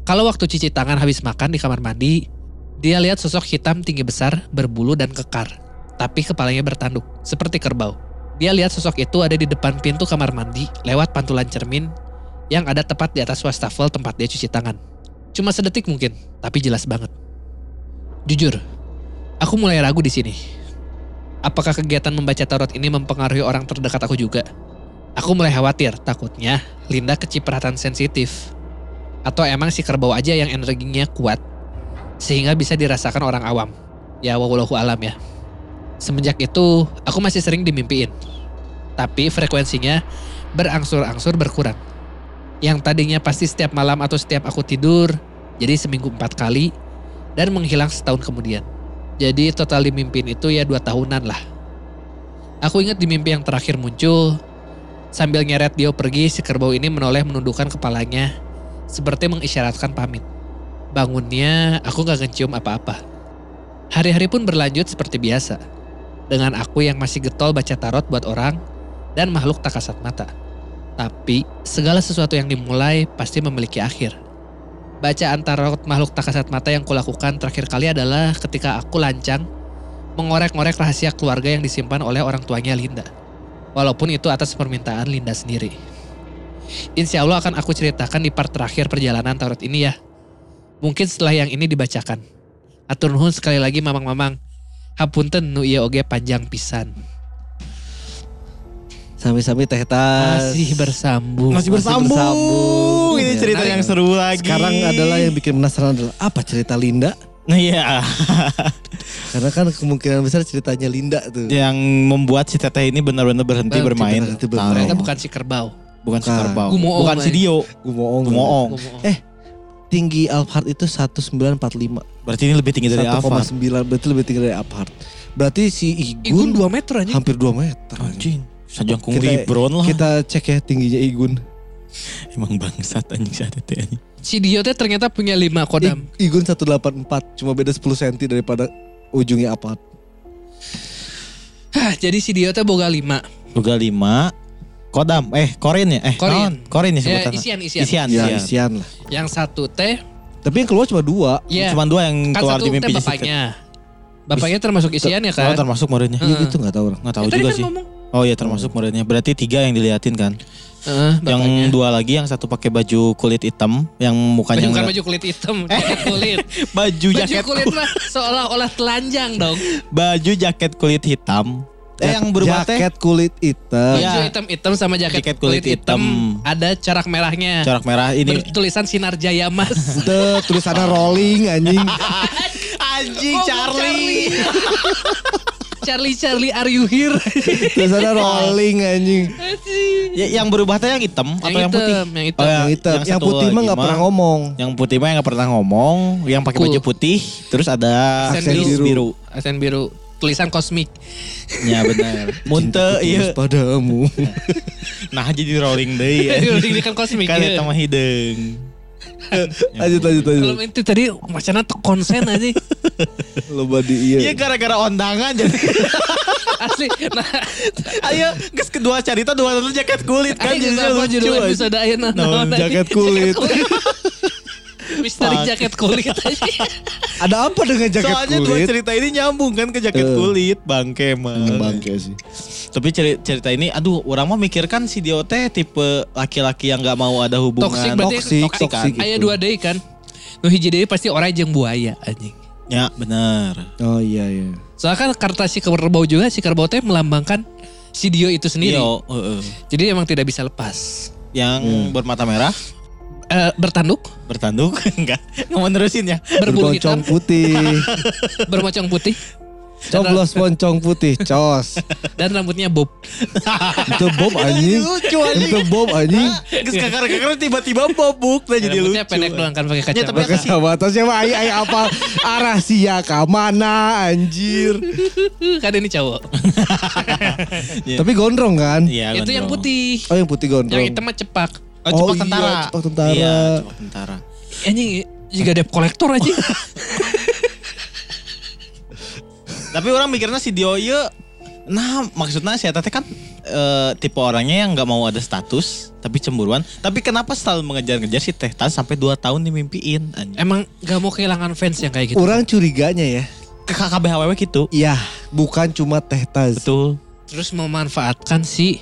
Speaker 1: kalau waktu cuci tangan habis makan di kamar mandi, dia lihat sosok hitam tinggi besar, berbulu dan kekar, tapi kepalanya bertanduk, seperti kerbau. Dia lihat sosok itu ada di depan pintu kamar mandi lewat pantulan cermin yang ada tepat di atas wastafel tempat dia cuci tangan. Cuma sedetik mungkin, tapi jelas banget. Jujur, aku mulai ragu di sini. Apakah kegiatan membaca tarot ini mempengaruhi orang terdekat aku juga? Aku mulai khawatir, takutnya Linda kecipratan sensitif. Atau emang si kerbau aja yang energinya kuat, sehingga bisa dirasakan orang awam. Ya wawalahu alam ya. Semenjak itu, aku masih sering dimimpiin. Tapi frekuensinya berangsur-angsur berkurang. Yang tadinya pasti setiap malam atau setiap aku tidur, jadi seminggu empat kali, dan menghilang setahun kemudian. Jadi total dimimpin itu ya dua tahunan lah. Aku ingat di mimpi yang terakhir muncul, sambil nyeret Dio pergi, si kerbau ini menoleh menundukkan kepalanya, seperti mengisyaratkan pamit. Bangunnya, aku gak ngecium apa-apa. Hari-hari pun berlanjut seperti biasa, dengan aku yang masih getol baca tarot buat orang dan makhluk tak kasat mata. Tapi, segala sesuatu yang dimulai pasti memiliki akhir. Bacaan tarot makhluk tak kasat mata yang kulakukan terakhir kali adalah ketika aku lancang mengorek-ngorek rahasia keluarga yang disimpan oleh orang tuanya Linda. Walaupun itu atas permintaan Linda sendiri. Insya Allah akan aku ceritakan di part terakhir perjalanan tarot ini ya. Mungkin setelah yang ini dibacakan. Atur nuhun sekali lagi mamang-mamang. Hapunten nu ieu oge panjang pisan.
Speaker 4: Sami-sami teh tas.
Speaker 1: Masih bersambung.
Speaker 3: Masih bersambung.
Speaker 4: bersambung.
Speaker 3: Ini
Speaker 4: Ya,
Speaker 3: cerita
Speaker 1: menarik.
Speaker 3: yang seru lagi.
Speaker 4: Sekarang adalah yang bikin penasaran adalah apa cerita Linda?
Speaker 3: Nah, Iya.
Speaker 4: Karena kan kemungkinan besar ceritanya Linda tuh.
Speaker 3: yang membuat si teteh ini benar-benar berhenti
Speaker 1: Berhenti,
Speaker 3: bermain.
Speaker 4: berhenti
Speaker 3: tarot.
Speaker 4: bermain.
Speaker 1: Ternyata bukan si kerbau.
Speaker 3: Bukan si
Speaker 4: Bukan.
Speaker 3: kerbau.
Speaker 1: Gumoong,
Speaker 3: Bukan si
Speaker 1: Mai.
Speaker 3: Dio.
Speaker 4: Gumoong.
Speaker 3: Gumoong.
Speaker 1: Ngomong.
Speaker 4: Eh, Tinggi Alphard itu 1945.
Speaker 3: Berarti ini lebih tinggi dari Alfa.
Speaker 4: 1,9 berarti lebih tinggi dari Alphard. Berarti si
Speaker 1: Igun
Speaker 4: Igun,
Speaker 1: 2 meter aja.
Speaker 4: hampir 2 meter.
Speaker 3: Anjing. Sajangkung
Speaker 4: Kita-
Speaker 3: Libron lah.
Speaker 4: Kita cek ya tingginya Igun.
Speaker 3: Emang bangsat anjing si teteh ini.
Speaker 1: Si Dio teh ternyata punya 5 kodam.
Speaker 4: I- Igun 184, cuma beda 10 cm daripada ujungnya Alphard.
Speaker 1: Hah, jadi si Dio teh boga 5.
Speaker 3: Juga lima. Kodam. Eh Korin ya? Eh
Speaker 1: Korin.
Speaker 3: naon? Korin
Speaker 1: Ya,
Speaker 3: ya sebutan.
Speaker 1: isian, isian.
Speaker 3: Isian.
Speaker 4: Ya,
Speaker 3: isian.
Speaker 4: isian lah.
Speaker 1: Yang satu teh
Speaker 4: Tapi yang keluar cuma dua.
Speaker 1: ya
Speaker 3: Cuman dua yang
Speaker 1: kan
Speaker 3: keluar
Speaker 1: satu
Speaker 3: di
Speaker 1: teh
Speaker 3: mimpinya si teteh.
Speaker 1: bapaknya. Bapaknya termasuk isian ya kan?
Speaker 3: Oh, termasuk muridnya.
Speaker 4: Iya gitu nggak tahu orang.
Speaker 3: Nggak
Speaker 1: Ya,
Speaker 3: tahu
Speaker 1: tadi
Speaker 3: juga
Speaker 1: kan
Speaker 3: sih.
Speaker 1: ngomong.
Speaker 3: Oh iya termasuk muridnya. Berarti tiga yang diliatin kan.
Speaker 1: Heeh,
Speaker 3: Yang
Speaker 1: eh, bapaknya.
Speaker 3: dua lagi yang satu pakai baju kulit hitam, yang mukanya
Speaker 1: Bukan
Speaker 3: nggak-
Speaker 1: baju kulit hitam,
Speaker 3: Eh.
Speaker 1: jaket kulit.
Speaker 3: [laughs] baju
Speaker 1: baju
Speaker 3: jaket Eh.
Speaker 1: kulit
Speaker 3: [laughs]
Speaker 1: mah seolah-olah telanjang dong.
Speaker 3: baju jaket kulit hitam. Eh yang berubah teh
Speaker 4: Jaket kulit hitam.
Speaker 1: Baju
Speaker 3: Iya.
Speaker 1: hitam-hitam sama jaket,
Speaker 3: Jaket
Speaker 1: kulit,
Speaker 3: kulit
Speaker 1: hitam.
Speaker 3: hitam.
Speaker 1: Ada corak merahnya.
Speaker 3: corak merah ini.
Speaker 1: Bertulisan Sinar Jaya
Speaker 3: [laughs]
Speaker 1: Mas.
Speaker 4: Tuh, tulisannya rolling anjing.
Speaker 3: Anjing
Speaker 1: Oh, Charlie, Charlie, are you here?
Speaker 4: tulisannya rolling anjing.
Speaker 3: Ya, yang berubah teh yang hitam atau yang putih?
Speaker 1: hitam, Yang hitam.
Speaker 3: Oh, ya.
Speaker 4: Yang hitam.
Speaker 3: yang
Speaker 4: Yang
Speaker 3: satu
Speaker 4: putih mah
Speaker 3: lagi
Speaker 4: nggak
Speaker 3: mah.
Speaker 4: pernah ngomong.
Speaker 3: Yang putih mah yang gak pernah ngomong, yang pakai
Speaker 1: Cool.
Speaker 3: baju putih, terus ada
Speaker 1: Aksen
Speaker 4: biru.
Speaker 3: biru.
Speaker 1: Asen biru. Tulisan
Speaker 3: [laughs]
Speaker 1: kosmik.
Speaker 3: Ya [laughs] benar. Munte
Speaker 4: Tulus
Speaker 3: iya. [laughs]
Speaker 4: padamu.
Speaker 3: Nah jadi rolling deh ya.
Speaker 1: [laughs]
Speaker 3: [laughs]
Speaker 1: Jadi rolling deh, kan kosmik,
Speaker 3: Kan
Speaker 1: iya.
Speaker 3: eta mah hideung.
Speaker 4: lanjut lanjut lanjut.
Speaker 1: Kalau itu tadi macana konsen
Speaker 3: [laughs]
Speaker 1: aja
Speaker 4: Loba di iya.
Speaker 3: Iya gara-gara ondangan jadi. [laughs]
Speaker 1: asli. Nah,
Speaker 3: Ayo, kes kedua cerita dua satu jaket kulit kan
Speaker 1: kan
Speaker 3: jadinya
Speaker 1: apa
Speaker 3: lucu.
Speaker 1: judul
Speaker 3: aja.
Speaker 1: episode ayeuna naon
Speaker 4: Naon,
Speaker 1: aja?
Speaker 4: jaket
Speaker 1: [laughs]
Speaker 4: kulit.
Speaker 1: Misteri
Speaker 3: Fuck.
Speaker 1: jaket kulit aja.
Speaker 3: [laughs]
Speaker 4: Ada apa dengan jaket
Speaker 3: Soalnya dua
Speaker 4: kulit?
Speaker 3: cerita ini nyambung kan ke jaket
Speaker 4: Eh.
Speaker 3: kulit Hmm, bangke mah.
Speaker 4: Bangke sih.
Speaker 3: Tapi ceri- cerita ini, aduh, orang mah mikirkan si Dio teh tipe laki-laki yang nggak mau ada hubungan.
Speaker 1: Toxic berarti
Speaker 4: toxic,
Speaker 1: toxic kan.
Speaker 4: toxic gitu.
Speaker 1: Aya dua deui kan. Nu hiji deui pasti orang jeung buaya anjing.
Speaker 3: Ya benar.
Speaker 4: Oh iya iya.
Speaker 1: Soalnya kan karta si kerbau juga si kerbau teh melambangkan si Dio itu sendiri.
Speaker 3: Dio, heeh.
Speaker 1: Jadi emang tidak bisa lepas.
Speaker 3: yang bermata merah
Speaker 1: Eh, bertanduk,
Speaker 3: bertanduk [laughs] enggak nggak mau nerusin ya.
Speaker 1: berbulu hitam, [laughs]
Speaker 4: Bergoncong putih,
Speaker 1: bermocong putih
Speaker 4: coblos poncong putih, cos.
Speaker 1: dan rambutnya bob.
Speaker 4: Itu
Speaker 1: [laughs]
Speaker 4: Bob anjing.
Speaker 3: Lucu
Speaker 4: Itu
Speaker 3: anjing.
Speaker 4: Bob anjing.
Speaker 3: Geus kakar-kakar tiba-tiba bobok lah jadi lucu.
Speaker 1: rambutnya pendek doang kan pakai
Speaker 3: Ya,
Speaker 1: kacamata.
Speaker 3: tapi
Speaker 4: Pakai sahabatas siapa ai ai apa arah sia ka mana anjir.
Speaker 1: kan ini cowok.
Speaker 4: Tapi gondrong kan?
Speaker 3: Iya,
Speaker 1: Itu yang
Speaker 3: gondrong.
Speaker 1: putih.
Speaker 4: Oh yang putih gondrong.
Speaker 1: Yang hitam mah cepak.
Speaker 3: Oh, cepak
Speaker 4: Oh iya,
Speaker 3: tentara.
Speaker 4: cepak tentara.
Speaker 3: Iya, cepak tentara.
Speaker 1: Anjing juga debt kolektor aja.
Speaker 3: Tapi orang mikirnya si Dio ieu nah maksudnya si Eta teh kan eh, tipe orangnya yang nggak mau ada status tapi cemburuan. Tapi kenapa selalu mengejar-ngejar si Teh Tan sampai 2 tahun dimimpiin eh, anjing.
Speaker 1: Emang gak mau kehilangan fans yang kayak gitu.
Speaker 4: Orang curiganya ya.
Speaker 3: Ke KKBHWW gitu.
Speaker 4: Iya, bukan cuma Teh Taz.
Speaker 3: Betul.
Speaker 1: Terus memanfaatkan si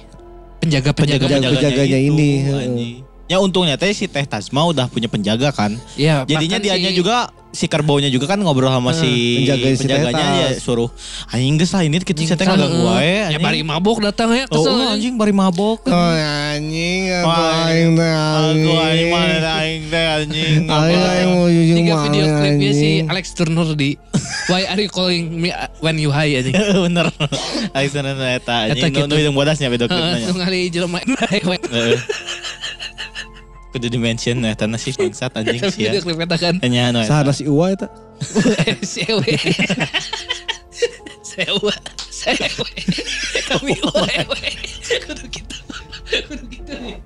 Speaker 1: penjaga-penjaga.
Speaker 4: Penjaga-penjaga. penjaganya
Speaker 3: itu,
Speaker 4: ini,
Speaker 3: anjing. Ya untungnya teh si Teh Tasma udah punya penjaga kan.
Speaker 1: Ya,
Speaker 3: Jadinya
Speaker 1: bahkan
Speaker 3: dianya
Speaker 1: si-
Speaker 3: juga si kerbaunya juga kan ngobrol sama si
Speaker 4: penjaga si
Speaker 3: penjaganya
Speaker 4: Teh Tas.
Speaker 3: ya suruh anjing geus lah ini kita
Speaker 1: Anjing,
Speaker 3: si Teh kagak
Speaker 1: kan,
Speaker 3: gua
Speaker 1: eh. Ya
Speaker 3: ya
Speaker 1: bari mabok datang ya.
Speaker 3: Oh,
Speaker 1: Kesel.
Speaker 3: oh,
Speaker 1: anjing.
Speaker 3: anjing bari mabok.
Speaker 4: Oh anjing, apa
Speaker 3: Wah,
Speaker 4: aing teh
Speaker 3: Aku aing
Speaker 4: anjing.
Speaker 3: mana teh, aing teh anjing.
Speaker 4: Aing aing mau jujur
Speaker 1: Tiga
Speaker 4: mah,
Speaker 1: video klipnya si
Speaker 4: anjing.
Speaker 1: Alex Turner di Why are you calling me uh, when you high
Speaker 4: [laughs]
Speaker 1: anjing.
Speaker 3: [laughs] Bener. Aing sana teh eta
Speaker 1: Eta
Speaker 3: anjing.
Speaker 1: gitu.
Speaker 3: Nu nu hidung bodasnya video klipnya.
Speaker 1: Langsung kali jelema. [laughs]
Speaker 3: Heeh. Kudu dimention ya tanah si bangsat anjing
Speaker 4: Iya.
Speaker 3: sia.
Speaker 1: Video klipnya tak kan.
Speaker 3: Nya anu eta.
Speaker 4: Sahana si Uwa eta.
Speaker 1: [laughs]
Speaker 4: [laughs]
Speaker 1: Sewe. Sewa.
Speaker 4: [laughs]
Speaker 1: Sewe. Kami
Speaker 4: Oh
Speaker 1: wewe. Kudu gitu. Kudu gitu. ya.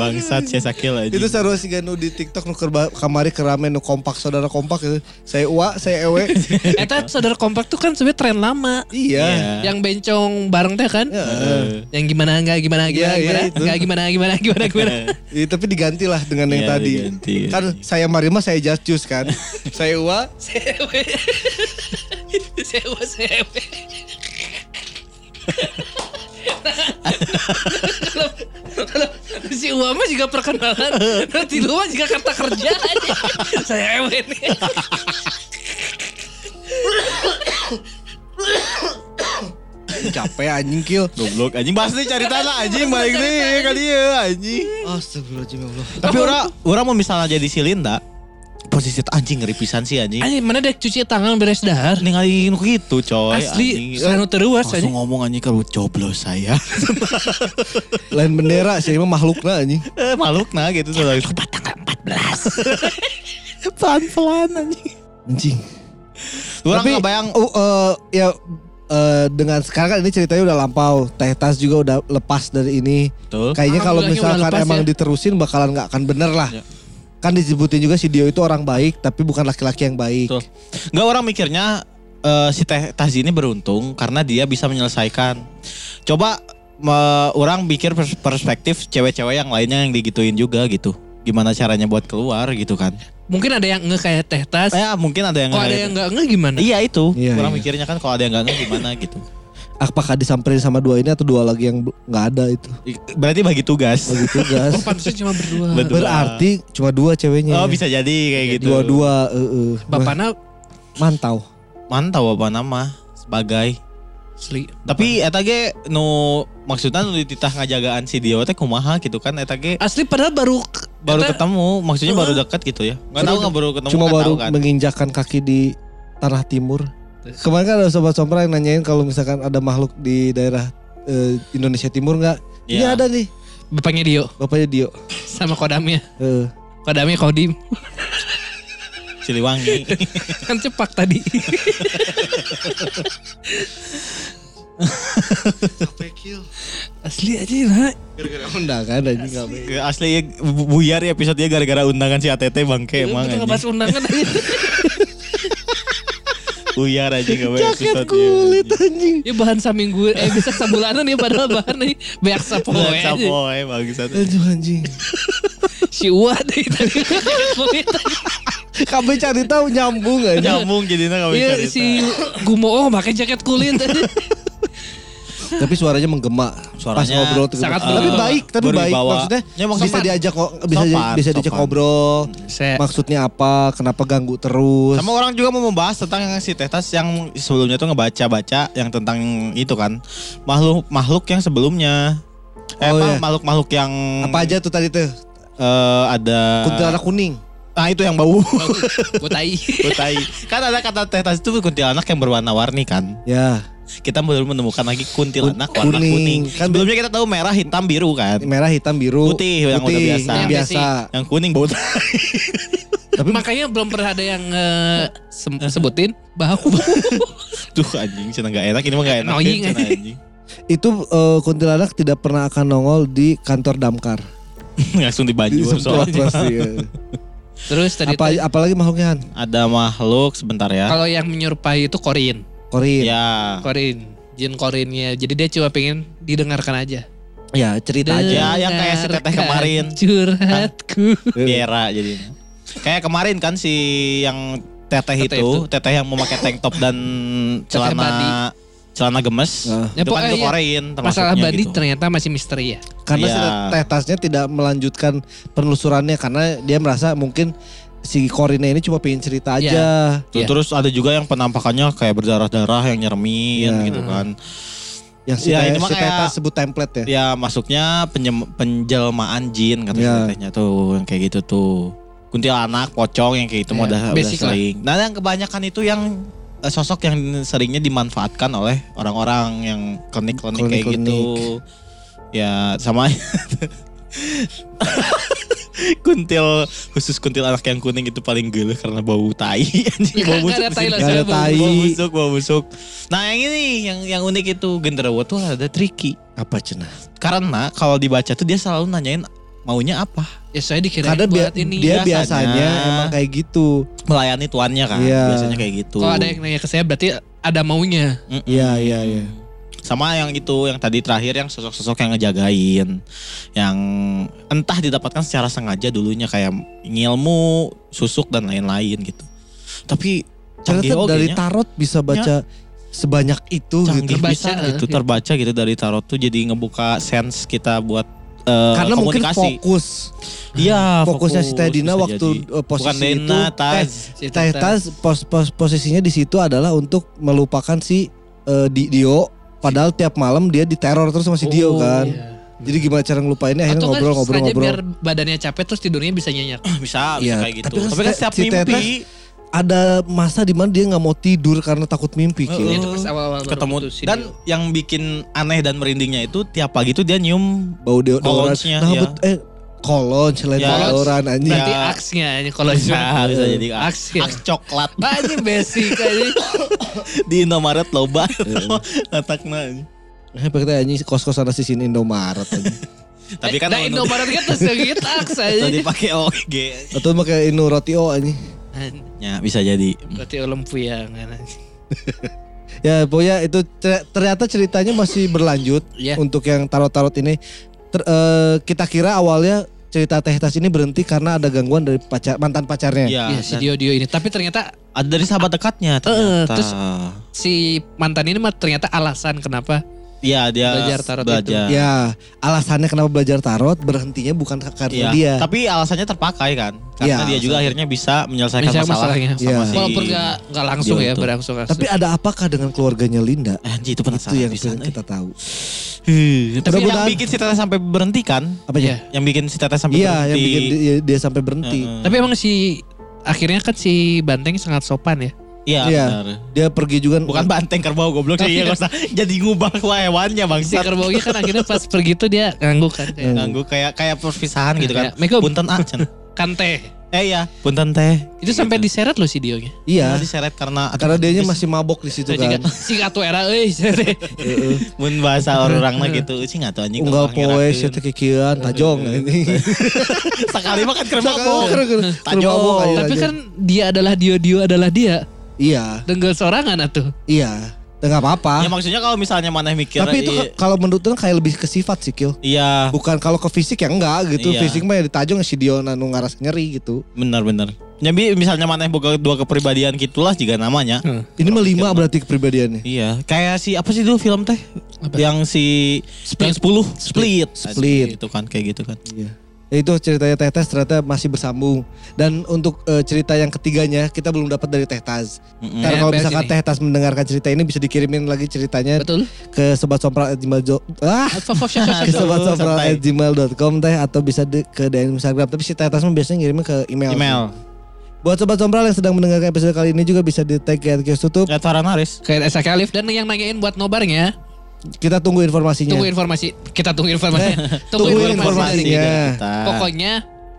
Speaker 3: bangsat sia sakil anjing.
Speaker 4: Itu seru sih ganu di TikTok nu kerba- kamari kerame nu kompak saudara kompak gitu. Saya Uwa, saya Ewe.
Speaker 1: Eta saudara kompak tuh kan sebenarnya tren lama.
Speaker 4: Iya.
Speaker 1: Yang bencong bareng teh kan.
Speaker 4: Heeh.
Speaker 1: Yang gimana enggak gimana gimana
Speaker 4: Iya, iya,
Speaker 1: gimana
Speaker 4: itu.
Speaker 1: enggak gimana gimana gimana
Speaker 4: [laughs]
Speaker 1: gimana.
Speaker 3: Eh,
Speaker 4: Iya, tapi digantilah dengan yang
Speaker 3: Iya,
Speaker 4: tadi.
Speaker 3: diganti.
Speaker 4: Kan saya Marima saya Just Juice kan. saya Uwa,
Speaker 1: Sewe. Sewe sewe. Kalau- kalau si Uama juga perkenalan, nanti lu mah juga kartu kerja aja. Saya ewe nih.
Speaker 4: capek anjing kill.
Speaker 3: Goblok anjing pasti cari tanah anjing balik deh kali ya anjing.
Speaker 4: Astagfirullahaladzim ya Allah.
Speaker 3: Tapi orang orang mau misalnya jadi si Linda posisi teu anjing ngeri pisan sih anjing.
Speaker 1: Anjing mana dek cuci tangan beres dahar.
Speaker 3: Ninggalin gitu coy
Speaker 1: Asli,
Speaker 3: anjing.
Speaker 1: sanu terus aja.
Speaker 3: Langsung ngomong anjing kalau coblos saya.
Speaker 4: Lain bendera sih mah makhlukna anjing.
Speaker 3: Eh, Makhluk nah gitu sudah.
Speaker 1: Tanggal 14.
Speaker 3: Pelan-pelan anjing.
Speaker 4: Anjing.
Speaker 3: Orang
Speaker 4: Tapi,
Speaker 3: kebayang
Speaker 4: uh, uh, ya uh, dengan sekarang kan ini ceritanya udah lampau. Teh Tas juga udah lepas dari ini.
Speaker 3: Betul.
Speaker 4: Kayaknya
Speaker 1: Alhamdulillahnya
Speaker 4: kalau
Speaker 1: udah
Speaker 4: misalkan
Speaker 1: lepas
Speaker 4: emang
Speaker 1: ya.
Speaker 4: diterusin bakalan nggak akan bener lah.
Speaker 3: Ya.
Speaker 4: Kan disebutin juga si Dio itu orang baik tapi bukan laki-laki yang baik.
Speaker 3: Betul. Enggak orang mikirnya eh, si Teh Tazi ini beruntung karena dia bisa menyelesaikan. Coba me- orang pikir pers- perspektif cewek-cewek yang lainnya yang digituin juga gitu. Gimana caranya buat keluar gitu kan?
Speaker 1: Mungkin ada yang nge kayak teh tas.
Speaker 3: Ya mungkin ada yang
Speaker 1: Kalau ada
Speaker 3: ngeliat-
Speaker 1: yang enggak nge gimana?
Speaker 3: Iya itu.
Speaker 4: Iya,
Speaker 3: orang
Speaker 4: iya.
Speaker 3: mikirnya kan kalau ada yang nggak nge gimana gitu.
Speaker 4: Apakah disamperin sama dua ini atau dua lagi yang bu- nggak ada itu?
Speaker 3: Berarti bagi tugas.
Speaker 4: Bagi
Speaker 3: [laughs]
Speaker 4: tugas.
Speaker 1: Oh, pantasnya cuma berdua.
Speaker 3: Betul.
Speaker 4: Berarti cuma dua ceweknya.
Speaker 3: Oh
Speaker 4: ya.
Speaker 3: bisa jadi kayak gitu.
Speaker 4: Dua-dua eh, eh.
Speaker 1: Bapakna
Speaker 4: mantau.
Speaker 3: Mantau apa nama sebagai.
Speaker 1: sli.
Speaker 3: Tapi eta ge nu maksudnya nu dititah ngajagaan si Dio teh kumaha gitu kan eta ge
Speaker 1: Asli padahal baru
Speaker 3: baru
Speaker 1: Eta-
Speaker 3: ketemu, maksudnya baru dekat gitu ya. Enggak tahu nggak baru ketemu
Speaker 4: Cuma
Speaker 3: nggak
Speaker 4: baru
Speaker 3: tahu kan.
Speaker 4: menginjakan kaki di tanah timur. Kemarin kan ada sobat sompra yang nanyain kalau misalkan ada makhluk di daerah eh, Indonesia Timur nggak? Ini
Speaker 3: Iya.
Speaker 4: ada nih,
Speaker 1: bapaknya Dio
Speaker 4: bapaknya Dio.
Speaker 1: sama kodamnya.
Speaker 4: Eh,
Speaker 1: Kodamnya [laughs] Kodim.
Speaker 4: [laughs]
Speaker 3: Ciliwangi.
Speaker 1: kan cepak tadi.
Speaker 2: Sampai kill.
Speaker 1: Asli aja nah.
Speaker 2: Gara-gara
Speaker 4: Undang kan anjing nggak baik.
Speaker 3: Asli ya, bu- buyar ya episode dia gara-gara undangan si ATT bangke
Speaker 1: Kita
Speaker 3: emang anjing.
Speaker 1: ngebahas undangan
Speaker 3: Buyar aja gak boleh
Speaker 4: Jaket
Speaker 3: episode dia,
Speaker 4: kulit
Speaker 3: anjing.
Speaker 4: anjing.
Speaker 1: Ya bahan saminggu Eh bisa sebulanan ya padahal bahan nih Banyak sapoe
Speaker 3: Bukan
Speaker 1: aja
Speaker 3: Sapoe bangsat.
Speaker 4: Aduh
Speaker 3: [laughs]
Speaker 4: anjing.
Speaker 1: Si Uwa deh tadi Kulit.
Speaker 4: Kabeh cari tahu nyambung anjing.
Speaker 3: Nyambung jadinya gak bisa
Speaker 1: Iya si Gumo oh pakai jaket kulit
Speaker 4: tapi suaranya menggema. Pas
Speaker 3: Suaranya
Speaker 4: ngobrol tuh gitu.
Speaker 1: sangat
Speaker 4: tapi
Speaker 1: berwibawa.
Speaker 4: baik, tapi baik.
Speaker 3: Berwibawa.
Speaker 4: Maksudnya
Speaker 3: Ya, maksudnya
Speaker 4: bisa
Speaker 3: sopan.
Speaker 4: diajak ngo- bisa
Speaker 3: Sopan,
Speaker 4: bisa diajak
Speaker 3: sopan. Eh.
Speaker 4: ngobrol.
Speaker 1: Saya
Speaker 4: Maksudnya apa? Kenapa ganggu terus?
Speaker 3: Sama orang juga mau membahas tentang yang si Tehtas yang sebelumnya tuh ngebaca-baca yang tentang itu kan. Makhluk makhluk yang sebelumnya. Eh, apa,
Speaker 4: Oh, iya.
Speaker 3: makhluk-makhluk yang
Speaker 4: apa aja tuh tadi tuh?
Speaker 3: eh, ada
Speaker 4: Kuntilanak kuning.
Speaker 3: Nah, itu yang
Speaker 4: [laughs]
Speaker 3: bau.
Speaker 1: Gue tai
Speaker 3: Kutai. kan ada kata Tehtas itu kuntilanak yang berwarna-warni kan.
Speaker 4: Ya,
Speaker 3: Kita baru menemukan lagi kuntilanak warna
Speaker 4: Kuning.
Speaker 3: kuning.
Speaker 4: Kan Iya. be-
Speaker 3: Sebelumnya kita tahu merah, hitam, biru kan.
Speaker 4: merah, hitam, biru.
Speaker 3: Putih, yang udah biasa.
Speaker 4: yang biasa.
Speaker 3: Yang kuning bau. tai.
Speaker 4: Tapi
Speaker 1: Makanya belum pernah ada yang eh, sem- sebutin Bau
Speaker 3: Tuh anjing, cina gak enak. Ini mah gak enak. ya,
Speaker 1: Annoying,
Speaker 3: cenah,
Speaker 1: anjing.
Speaker 3: anjing.
Speaker 4: itu eh, kuntilanak tidak pernah akan nongol di kantor damkar.
Speaker 3: Langsung dibanjur
Speaker 4: Disemprot
Speaker 3: soalnya.
Speaker 4: pasti. ya.
Speaker 1: Terus tadi
Speaker 4: Apa, apalagi makhluknya Han?
Speaker 3: Ada makhluk sebentar ya.
Speaker 1: Kalau yang menyerupai itu Korin
Speaker 4: Korin. Ya,
Speaker 3: Ya.
Speaker 1: Korin Jin Korinnya Jadi dia cuma pengen didengarkan aja
Speaker 4: cerita
Speaker 3: aja.
Speaker 4: aja.
Speaker 3: Ya, yang kayak si teteh kemarin.
Speaker 1: Dengarkan Curhatku
Speaker 3: Biera jadi. Kayak kemarin kan si yang teteh,
Speaker 1: Teteh
Speaker 3: itu, teteh yang memakai tank top dan
Speaker 1: Bandi.
Speaker 3: celana celana gemes.
Speaker 4: Nah.
Speaker 1: Ya,
Speaker 3: itu kan
Speaker 1: pokoknya
Speaker 3: itu
Speaker 1: iya.
Speaker 3: korein
Speaker 1: Masalah
Speaker 3: termasuknya
Speaker 1: Bandi
Speaker 3: gitu.
Speaker 1: ternyata masih misteri ya
Speaker 4: Karena
Speaker 3: Iya.
Speaker 4: si teh tasnya tidak melanjutkan penelusurannya karena dia merasa mungkin si Korina ini cuma pengen cerita
Speaker 1: Iya.
Speaker 4: aja.
Speaker 3: Tuh,
Speaker 1: Iya.
Speaker 3: Terus ada juga yang penampakannya kayak berdarah-darah yang nyeremin
Speaker 4: Iya.
Speaker 3: gitu kan.
Speaker 4: Yang si,
Speaker 3: Iya,
Speaker 4: Teh-
Speaker 3: ini mah
Speaker 4: si Teh
Speaker 3: kayak-
Speaker 4: Tas sebut template ya.
Speaker 3: Ya masuknya penjem- penjelmaan jin kata si
Speaker 1: Ya.
Speaker 4: Iya.
Speaker 3: tetehnya tuh yang kayak gitu tuh. Kuntilanak, pocong yang kayak gitu mah
Speaker 1: Iya,
Speaker 3: udah, udah
Speaker 1: basic lah.
Speaker 3: sering. Nah yang kebanyakan itu yang eh, sosok yang seringnya dimanfaatkan oleh orang-orang yang klinik-klinik kayak
Speaker 4: Klinik-klinik.
Speaker 3: gitu. Ya sama kuntil khusus kuntil anak yang kuning itu paling gelo karena bau tai anjing bau
Speaker 1: [laughs] Nggak ada
Speaker 3: busuk
Speaker 1: tai lah,
Speaker 4: Nggak ada
Speaker 1: saya bau-
Speaker 4: tai.
Speaker 3: bau busuk bau busuk nah yang ini yang yang unik itu genderuwo tuh ada tricky
Speaker 4: Apa cina?
Speaker 3: karena kalau dibaca tuh dia selalu nanyain maunya apa
Speaker 1: Ya saya dikira
Speaker 4: Karena
Speaker 1: buat
Speaker 4: dia,
Speaker 1: ini
Speaker 4: dia
Speaker 3: biasanya-
Speaker 4: biasanya emang kayak gitu.
Speaker 3: melayani tuannya kan
Speaker 4: Iya.
Speaker 3: biasanya kayak gitu
Speaker 1: Kalau ada yang nanya ke saya berarti ada maunya
Speaker 3: Mm-mm.
Speaker 4: Iya iya iya.
Speaker 3: sama yang itu yang tadi terakhir yang sosok-sosok yang ngejagain yang entah didapatkan secara sengaja dulunya kayak ngilmu susuk dan lain-lain gitu tapi canggih
Speaker 4: Ternyata
Speaker 3: oge
Speaker 4: dari
Speaker 3: nya. Iya.
Speaker 4: tarot bisa baca sebanyak itu
Speaker 3: canggih
Speaker 4: gitu.
Speaker 1: Terbaca,
Speaker 3: bisa gitu
Speaker 1: eh.
Speaker 3: terbaca gitu dari tarot tuh jadi ngebuka sense kita buat eh,
Speaker 4: Karena mungkin
Speaker 3: komunikasi.
Speaker 4: fokus.
Speaker 3: Iya,
Speaker 4: Fokusnya si Teh Dina
Speaker 3: bisa
Speaker 4: waktu
Speaker 3: jadi.
Speaker 4: eh, posisi
Speaker 3: Bukan Dina,
Speaker 4: itu.
Speaker 3: Taz.
Speaker 4: eh, Teh Tas pos, pos, posisinya di situ adalah untuk melupakan si eh, Di- Dio. Padahal tiap malam dia diteror terus sama si Dio
Speaker 3: Oh,
Speaker 4: kan.
Speaker 3: iya.
Speaker 4: Jadi gimana cara ngelupainnya akhirnya
Speaker 1: Oh, iya. Atau kan
Speaker 4: ngobrol ngobrol
Speaker 1: sengaja
Speaker 4: ngobrol.
Speaker 1: biar badannya capek terus tidurnya bisa nyenyak.
Speaker 3: bisa, [clears throat] bisa
Speaker 4: Iya,
Speaker 3: kayak gitu.
Speaker 4: tapi
Speaker 3: Tapi
Speaker 4: kan
Speaker 3: kan,
Speaker 4: si-
Speaker 3: setiap
Speaker 4: si Teh
Speaker 3: mimpi
Speaker 4: Ada masa di mana dia nggak mau tidur karena takut mimpi.
Speaker 3: Heeh. Iya.
Speaker 4: Ki.
Speaker 1: Itu pas awal-awal baru
Speaker 3: ketemu
Speaker 1: putus, si
Speaker 3: dan
Speaker 1: Dio.
Speaker 3: yang bikin aneh dan merindingnya itu tiap pagi tuh dia nyium
Speaker 4: Bau dia
Speaker 3: Kolonsnya,
Speaker 4: Nah,
Speaker 3: iya.
Speaker 4: bet, eh kolon selain
Speaker 3: Ya.
Speaker 4: deodoran anjing.
Speaker 1: berarti
Speaker 3: Ya.
Speaker 1: aksnya ini kalau
Speaker 3: bisa, Nah, bisa jadi
Speaker 1: aks
Speaker 3: aks,
Speaker 1: ya.
Speaker 3: aks coklat
Speaker 1: Nah, ini basic aja.
Speaker 3: di Indomaret loba
Speaker 1: Iya,
Speaker 3: [laughs] letaknya.
Speaker 4: Eh pakai teh anjing kos-kosan si sini Indomaret. anjing.
Speaker 3: [laughs] Tapi kan
Speaker 1: nah,
Speaker 3: kalau
Speaker 1: Indomaret kan terus gitu aks aja. [laughs]
Speaker 3: tadi pakai OG.
Speaker 4: Atau pakai Indo Rotio anjing.
Speaker 3: Ya, bisa jadi.
Speaker 1: Berarti kan. olempuyang.
Speaker 4: Ya pokoknya itu cer- ternyata ceritanya masih berlanjut
Speaker 1: Iya.
Speaker 4: untuk yang tarot-tarot ini. Ter- eh, kita kira awalnya cerita Teh Tas ini berhenti karena ada gangguan dari pacar mantan pacarnya.
Speaker 3: Iya,
Speaker 1: Iya si Dio Dio ini. Tapi ternyata
Speaker 3: ada dari sahabat dekatnya
Speaker 1: Eh,
Speaker 3: ternyata.
Speaker 1: terus- si mantan ini mah ternyata alasan kenapa
Speaker 3: Iya, dia
Speaker 1: Belajar tarot
Speaker 3: belajar.
Speaker 1: Iya,
Speaker 4: Ya, alasannya kenapa belajar tarot berhentinya bukan
Speaker 3: Iya,
Speaker 4: karena dia.
Speaker 3: Tapi alasannya terpakai kan? Karena
Speaker 4: Iya,
Speaker 3: dia juga akhirnya bisa menyelesaikan
Speaker 1: misalnya
Speaker 3: masalah.
Speaker 1: masalahnya.
Speaker 4: Iya.
Speaker 3: sama si-
Speaker 1: Walaupun nggak nggak langsung
Speaker 3: Dio
Speaker 1: ya
Speaker 3: itu.
Speaker 1: berangsung langsung.
Speaker 4: Tapi ada apakah dengan keluarganya Linda?
Speaker 3: Eh, Anjir itu
Speaker 4: Itu
Speaker 3: penasaran
Speaker 4: yang
Speaker 3: pisan,
Speaker 4: pengen
Speaker 3: eh.
Speaker 4: kita tahu.
Speaker 3: Huh, Tapi yang
Speaker 4: Mudah-mudahan-
Speaker 3: bikin si Teteh sampai berhenti kan?
Speaker 4: Apa ya?
Speaker 3: Yang bikin si Teteh sampai
Speaker 4: Iya, yang
Speaker 3: berhenti.
Speaker 4: bikin dia, dia sampai berhenti.
Speaker 3: Heeh.
Speaker 1: Tapi emang si akhirnya kan si Banteng sangat sopan ya.
Speaker 3: Iya,
Speaker 4: Iya.
Speaker 3: benar.
Speaker 4: Dia pergi juga
Speaker 3: Bukan banteng kerbau goblok sih,
Speaker 1: Tapi-
Speaker 3: iya gak usah. Jadi ngubah hewannya bang.
Speaker 4: Iya.
Speaker 1: Si kerbaunya kan akhirnya pas
Speaker 3: Iya.
Speaker 1: pergi tuh dia ngangguk kan kayak
Speaker 4: Iya,
Speaker 3: Ganggu kayak kayak perpisahan gitu kan.
Speaker 1: Kayak, Meko
Speaker 3: Punten ah, Cen.
Speaker 1: kante.
Speaker 3: Eh iya, punten teh.
Speaker 1: kan Itu sampai diseret loh si Dionya.
Speaker 4: Iya.
Speaker 3: Tadi diseret karena
Speaker 4: Karena dianya masih mabok di situ
Speaker 1: Itu juga
Speaker 4: kan.
Speaker 1: si atuh era euy. sere.
Speaker 4: Heeh.
Speaker 3: mun bahasa orangna gitu, sih enggak tahu anjing. orang
Speaker 4: Unggal Iya. poe
Speaker 3: ngerakeun.
Speaker 4: sia teh kikian tajong [laughs] ini.
Speaker 3: Sekali makan keur mabok. Tajong.
Speaker 4: Tajong.
Speaker 1: Tapi kan dia adalah Dio, Dio adalah dia.
Speaker 4: iya,
Speaker 1: Denggel sorangan atuh.
Speaker 4: iya. Enggak apa-apa.
Speaker 3: Ya maksudnya kalau misalnya maneh mikir
Speaker 4: Tapi itu
Speaker 3: iya,
Speaker 4: ke- kalau menurut orang kayak lebih ke sifat sih Kil.
Speaker 3: iya
Speaker 4: Bukan kalau ke fisik ya enggak gitu.
Speaker 3: Iya.
Speaker 4: Fisik mah ya ditajong si Dion anu ngarasa nyeri gitu.
Speaker 3: benar-benar. Jadi misalnya maneh boga dua kepribadian gitulah juga namanya.
Speaker 4: Ini mah lima berarti kepribadiannya.
Speaker 3: Iya, kayak si apa sih dulu film teh?
Speaker 1: Apa?
Speaker 3: Yang si yang 10 split.
Speaker 4: Split.
Speaker 3: Itu kan kayak gitu kan.
Speaker 4: Iya. Itu ceritanya Teh Taz ternyata masih bersambung. Dan untuk eh, cerita yang ketiganya kita belum dapat dari Teh Taz.
Speaker 3: Mm-mm.
Speaker 1: Hmm.
Speaker 4: Karena kalau
Speaker 1: Iya, beres
Speaker 4: misalkan
Speaker 1: ini.
Speaker 4: Teh Taz mendengarkan cerita ini bisa dikirimin lagi ceritanya
Speaker 1: Betul.
Speaker 4: ke sobat sompral @gmail.com. Ah, ke
Speaker 1: Apa-apa.
Speaker 4: sobat sompral
Speaker 3: santai.
Speaker 4: @gmail.com teh atau bisa di- ke DM Instagram. Tapi si Teh Taz mah biasanya ngirimnya ke email.
Speaker 3: Email.
Speaker 4: Buat sobat sompral yang sedang mendengarkan episode kali ini juga bisa di tag ke Kios tutup.
Speaker 3: Lihat Farhan Haris.
Speaker 1: Kayak Esa Khalif dan yang nanyain buat nobarnya.
Speaker 4: Kita tunggu informasinya.
Speaker 1: Tunggu informasi. Kita tunggu informasi.
Speaker 4: Tunggu
Speaker 1: tunggu informasi.
Speaker 4: informasi.
Speaker 1: dari-
Speaker 4: informasinya.
Speaker 3: dari kita. Iya,
Speaker 1: Pokoknya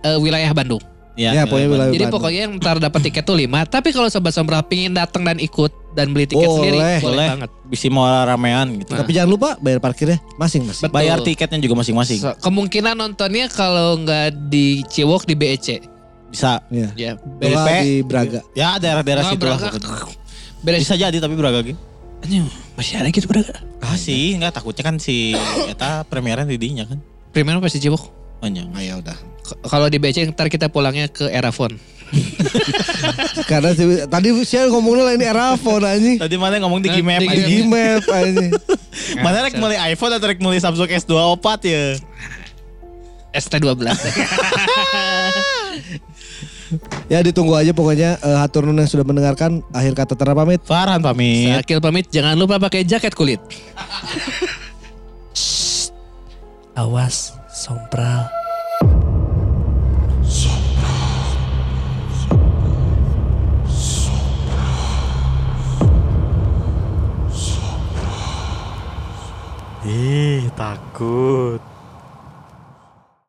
Speaker 1: eh, wilayah Bandung.
Speaker 4: Ya, pokoknya
Speaker 3: benar.
Speaker 4: wilayah-
Speaker 1: Jadi
Speaker 4: Bandung.
Speaker 1: pokoknya yang ntar dapat tiket tuh 5 Tapi kalau Sobat Sombra pingin datang dan ikut dan beli tiket
Speaker 4: Boleh.
Speaker 1: sendiri boleh,
Speaker 3: Boleh.
Speaker 1: banget.
Speaker 3: Bisa mau ramean gitu.
Speaker 4: Tapi jangan lupa bayar parkirnya masing-masing.
Speaker 1: Betul.
Speaker 3: Bayar tiketnya juga masing-masing.
Speaker 1: So, kemungkinan nontonnya kalau nggak di Ciwok di BEC.
Speaker 3: Bisa.
Speaker 4: Iya.
Speaker 1: Ya,
Speaker 3: Be-
Speaker 4: Dua
Speaker 3: BP.
Speaker 4: di Braga.
Speaker 3: Ya daerah-daerah
Speaker 1: Nah,
Speaker 3: situ lah.
Speaker 1: Braga.
Speaker 3: pokoknya.
Speaker 1: beres.
Speaker 3: Bisa jadi tapi Braga gitu.
Speaker 1: Anjing, masih ada gitu berapa?
Speaker 3: Ah sih, enggak takutnya kan si eta premiernya di dinya kan.
Speaker 1: Primer pasti Ciwok.
Speaker 3: Oh nyang.
Speaker 4: Ah, ya udah.
Speaker 1: K- Kalau di BEC ntar kita pulangnya ke Erafon.
Speaker 4: Karena si- tadi saya ngomongnya lain Erafon anjing.
Speaker 3: Tadi mana ngomong di
Speaker 1: Nah,
Speaker 3: Gmap
Speaker 1: di
Speaker 3: aja.
Speaker 1: Gmap.
Speaker 4: Gmap anjing.
Speaker 3: Mana rek mulai iPhone atau rek mulai Samsung S2 opat ya?
Speaker 1: ST12. [laughs]
Speaker 4: Ya ditunggu aja pokoknya eh, hatur nuhun yang sudah mendengarkan akhir kata Tera pamit.
Speaker 3: Farhan pamit.
Speaker 1: Akil pamit, jangan lupa pakai jaket kulit. Shh. Awas, sompral.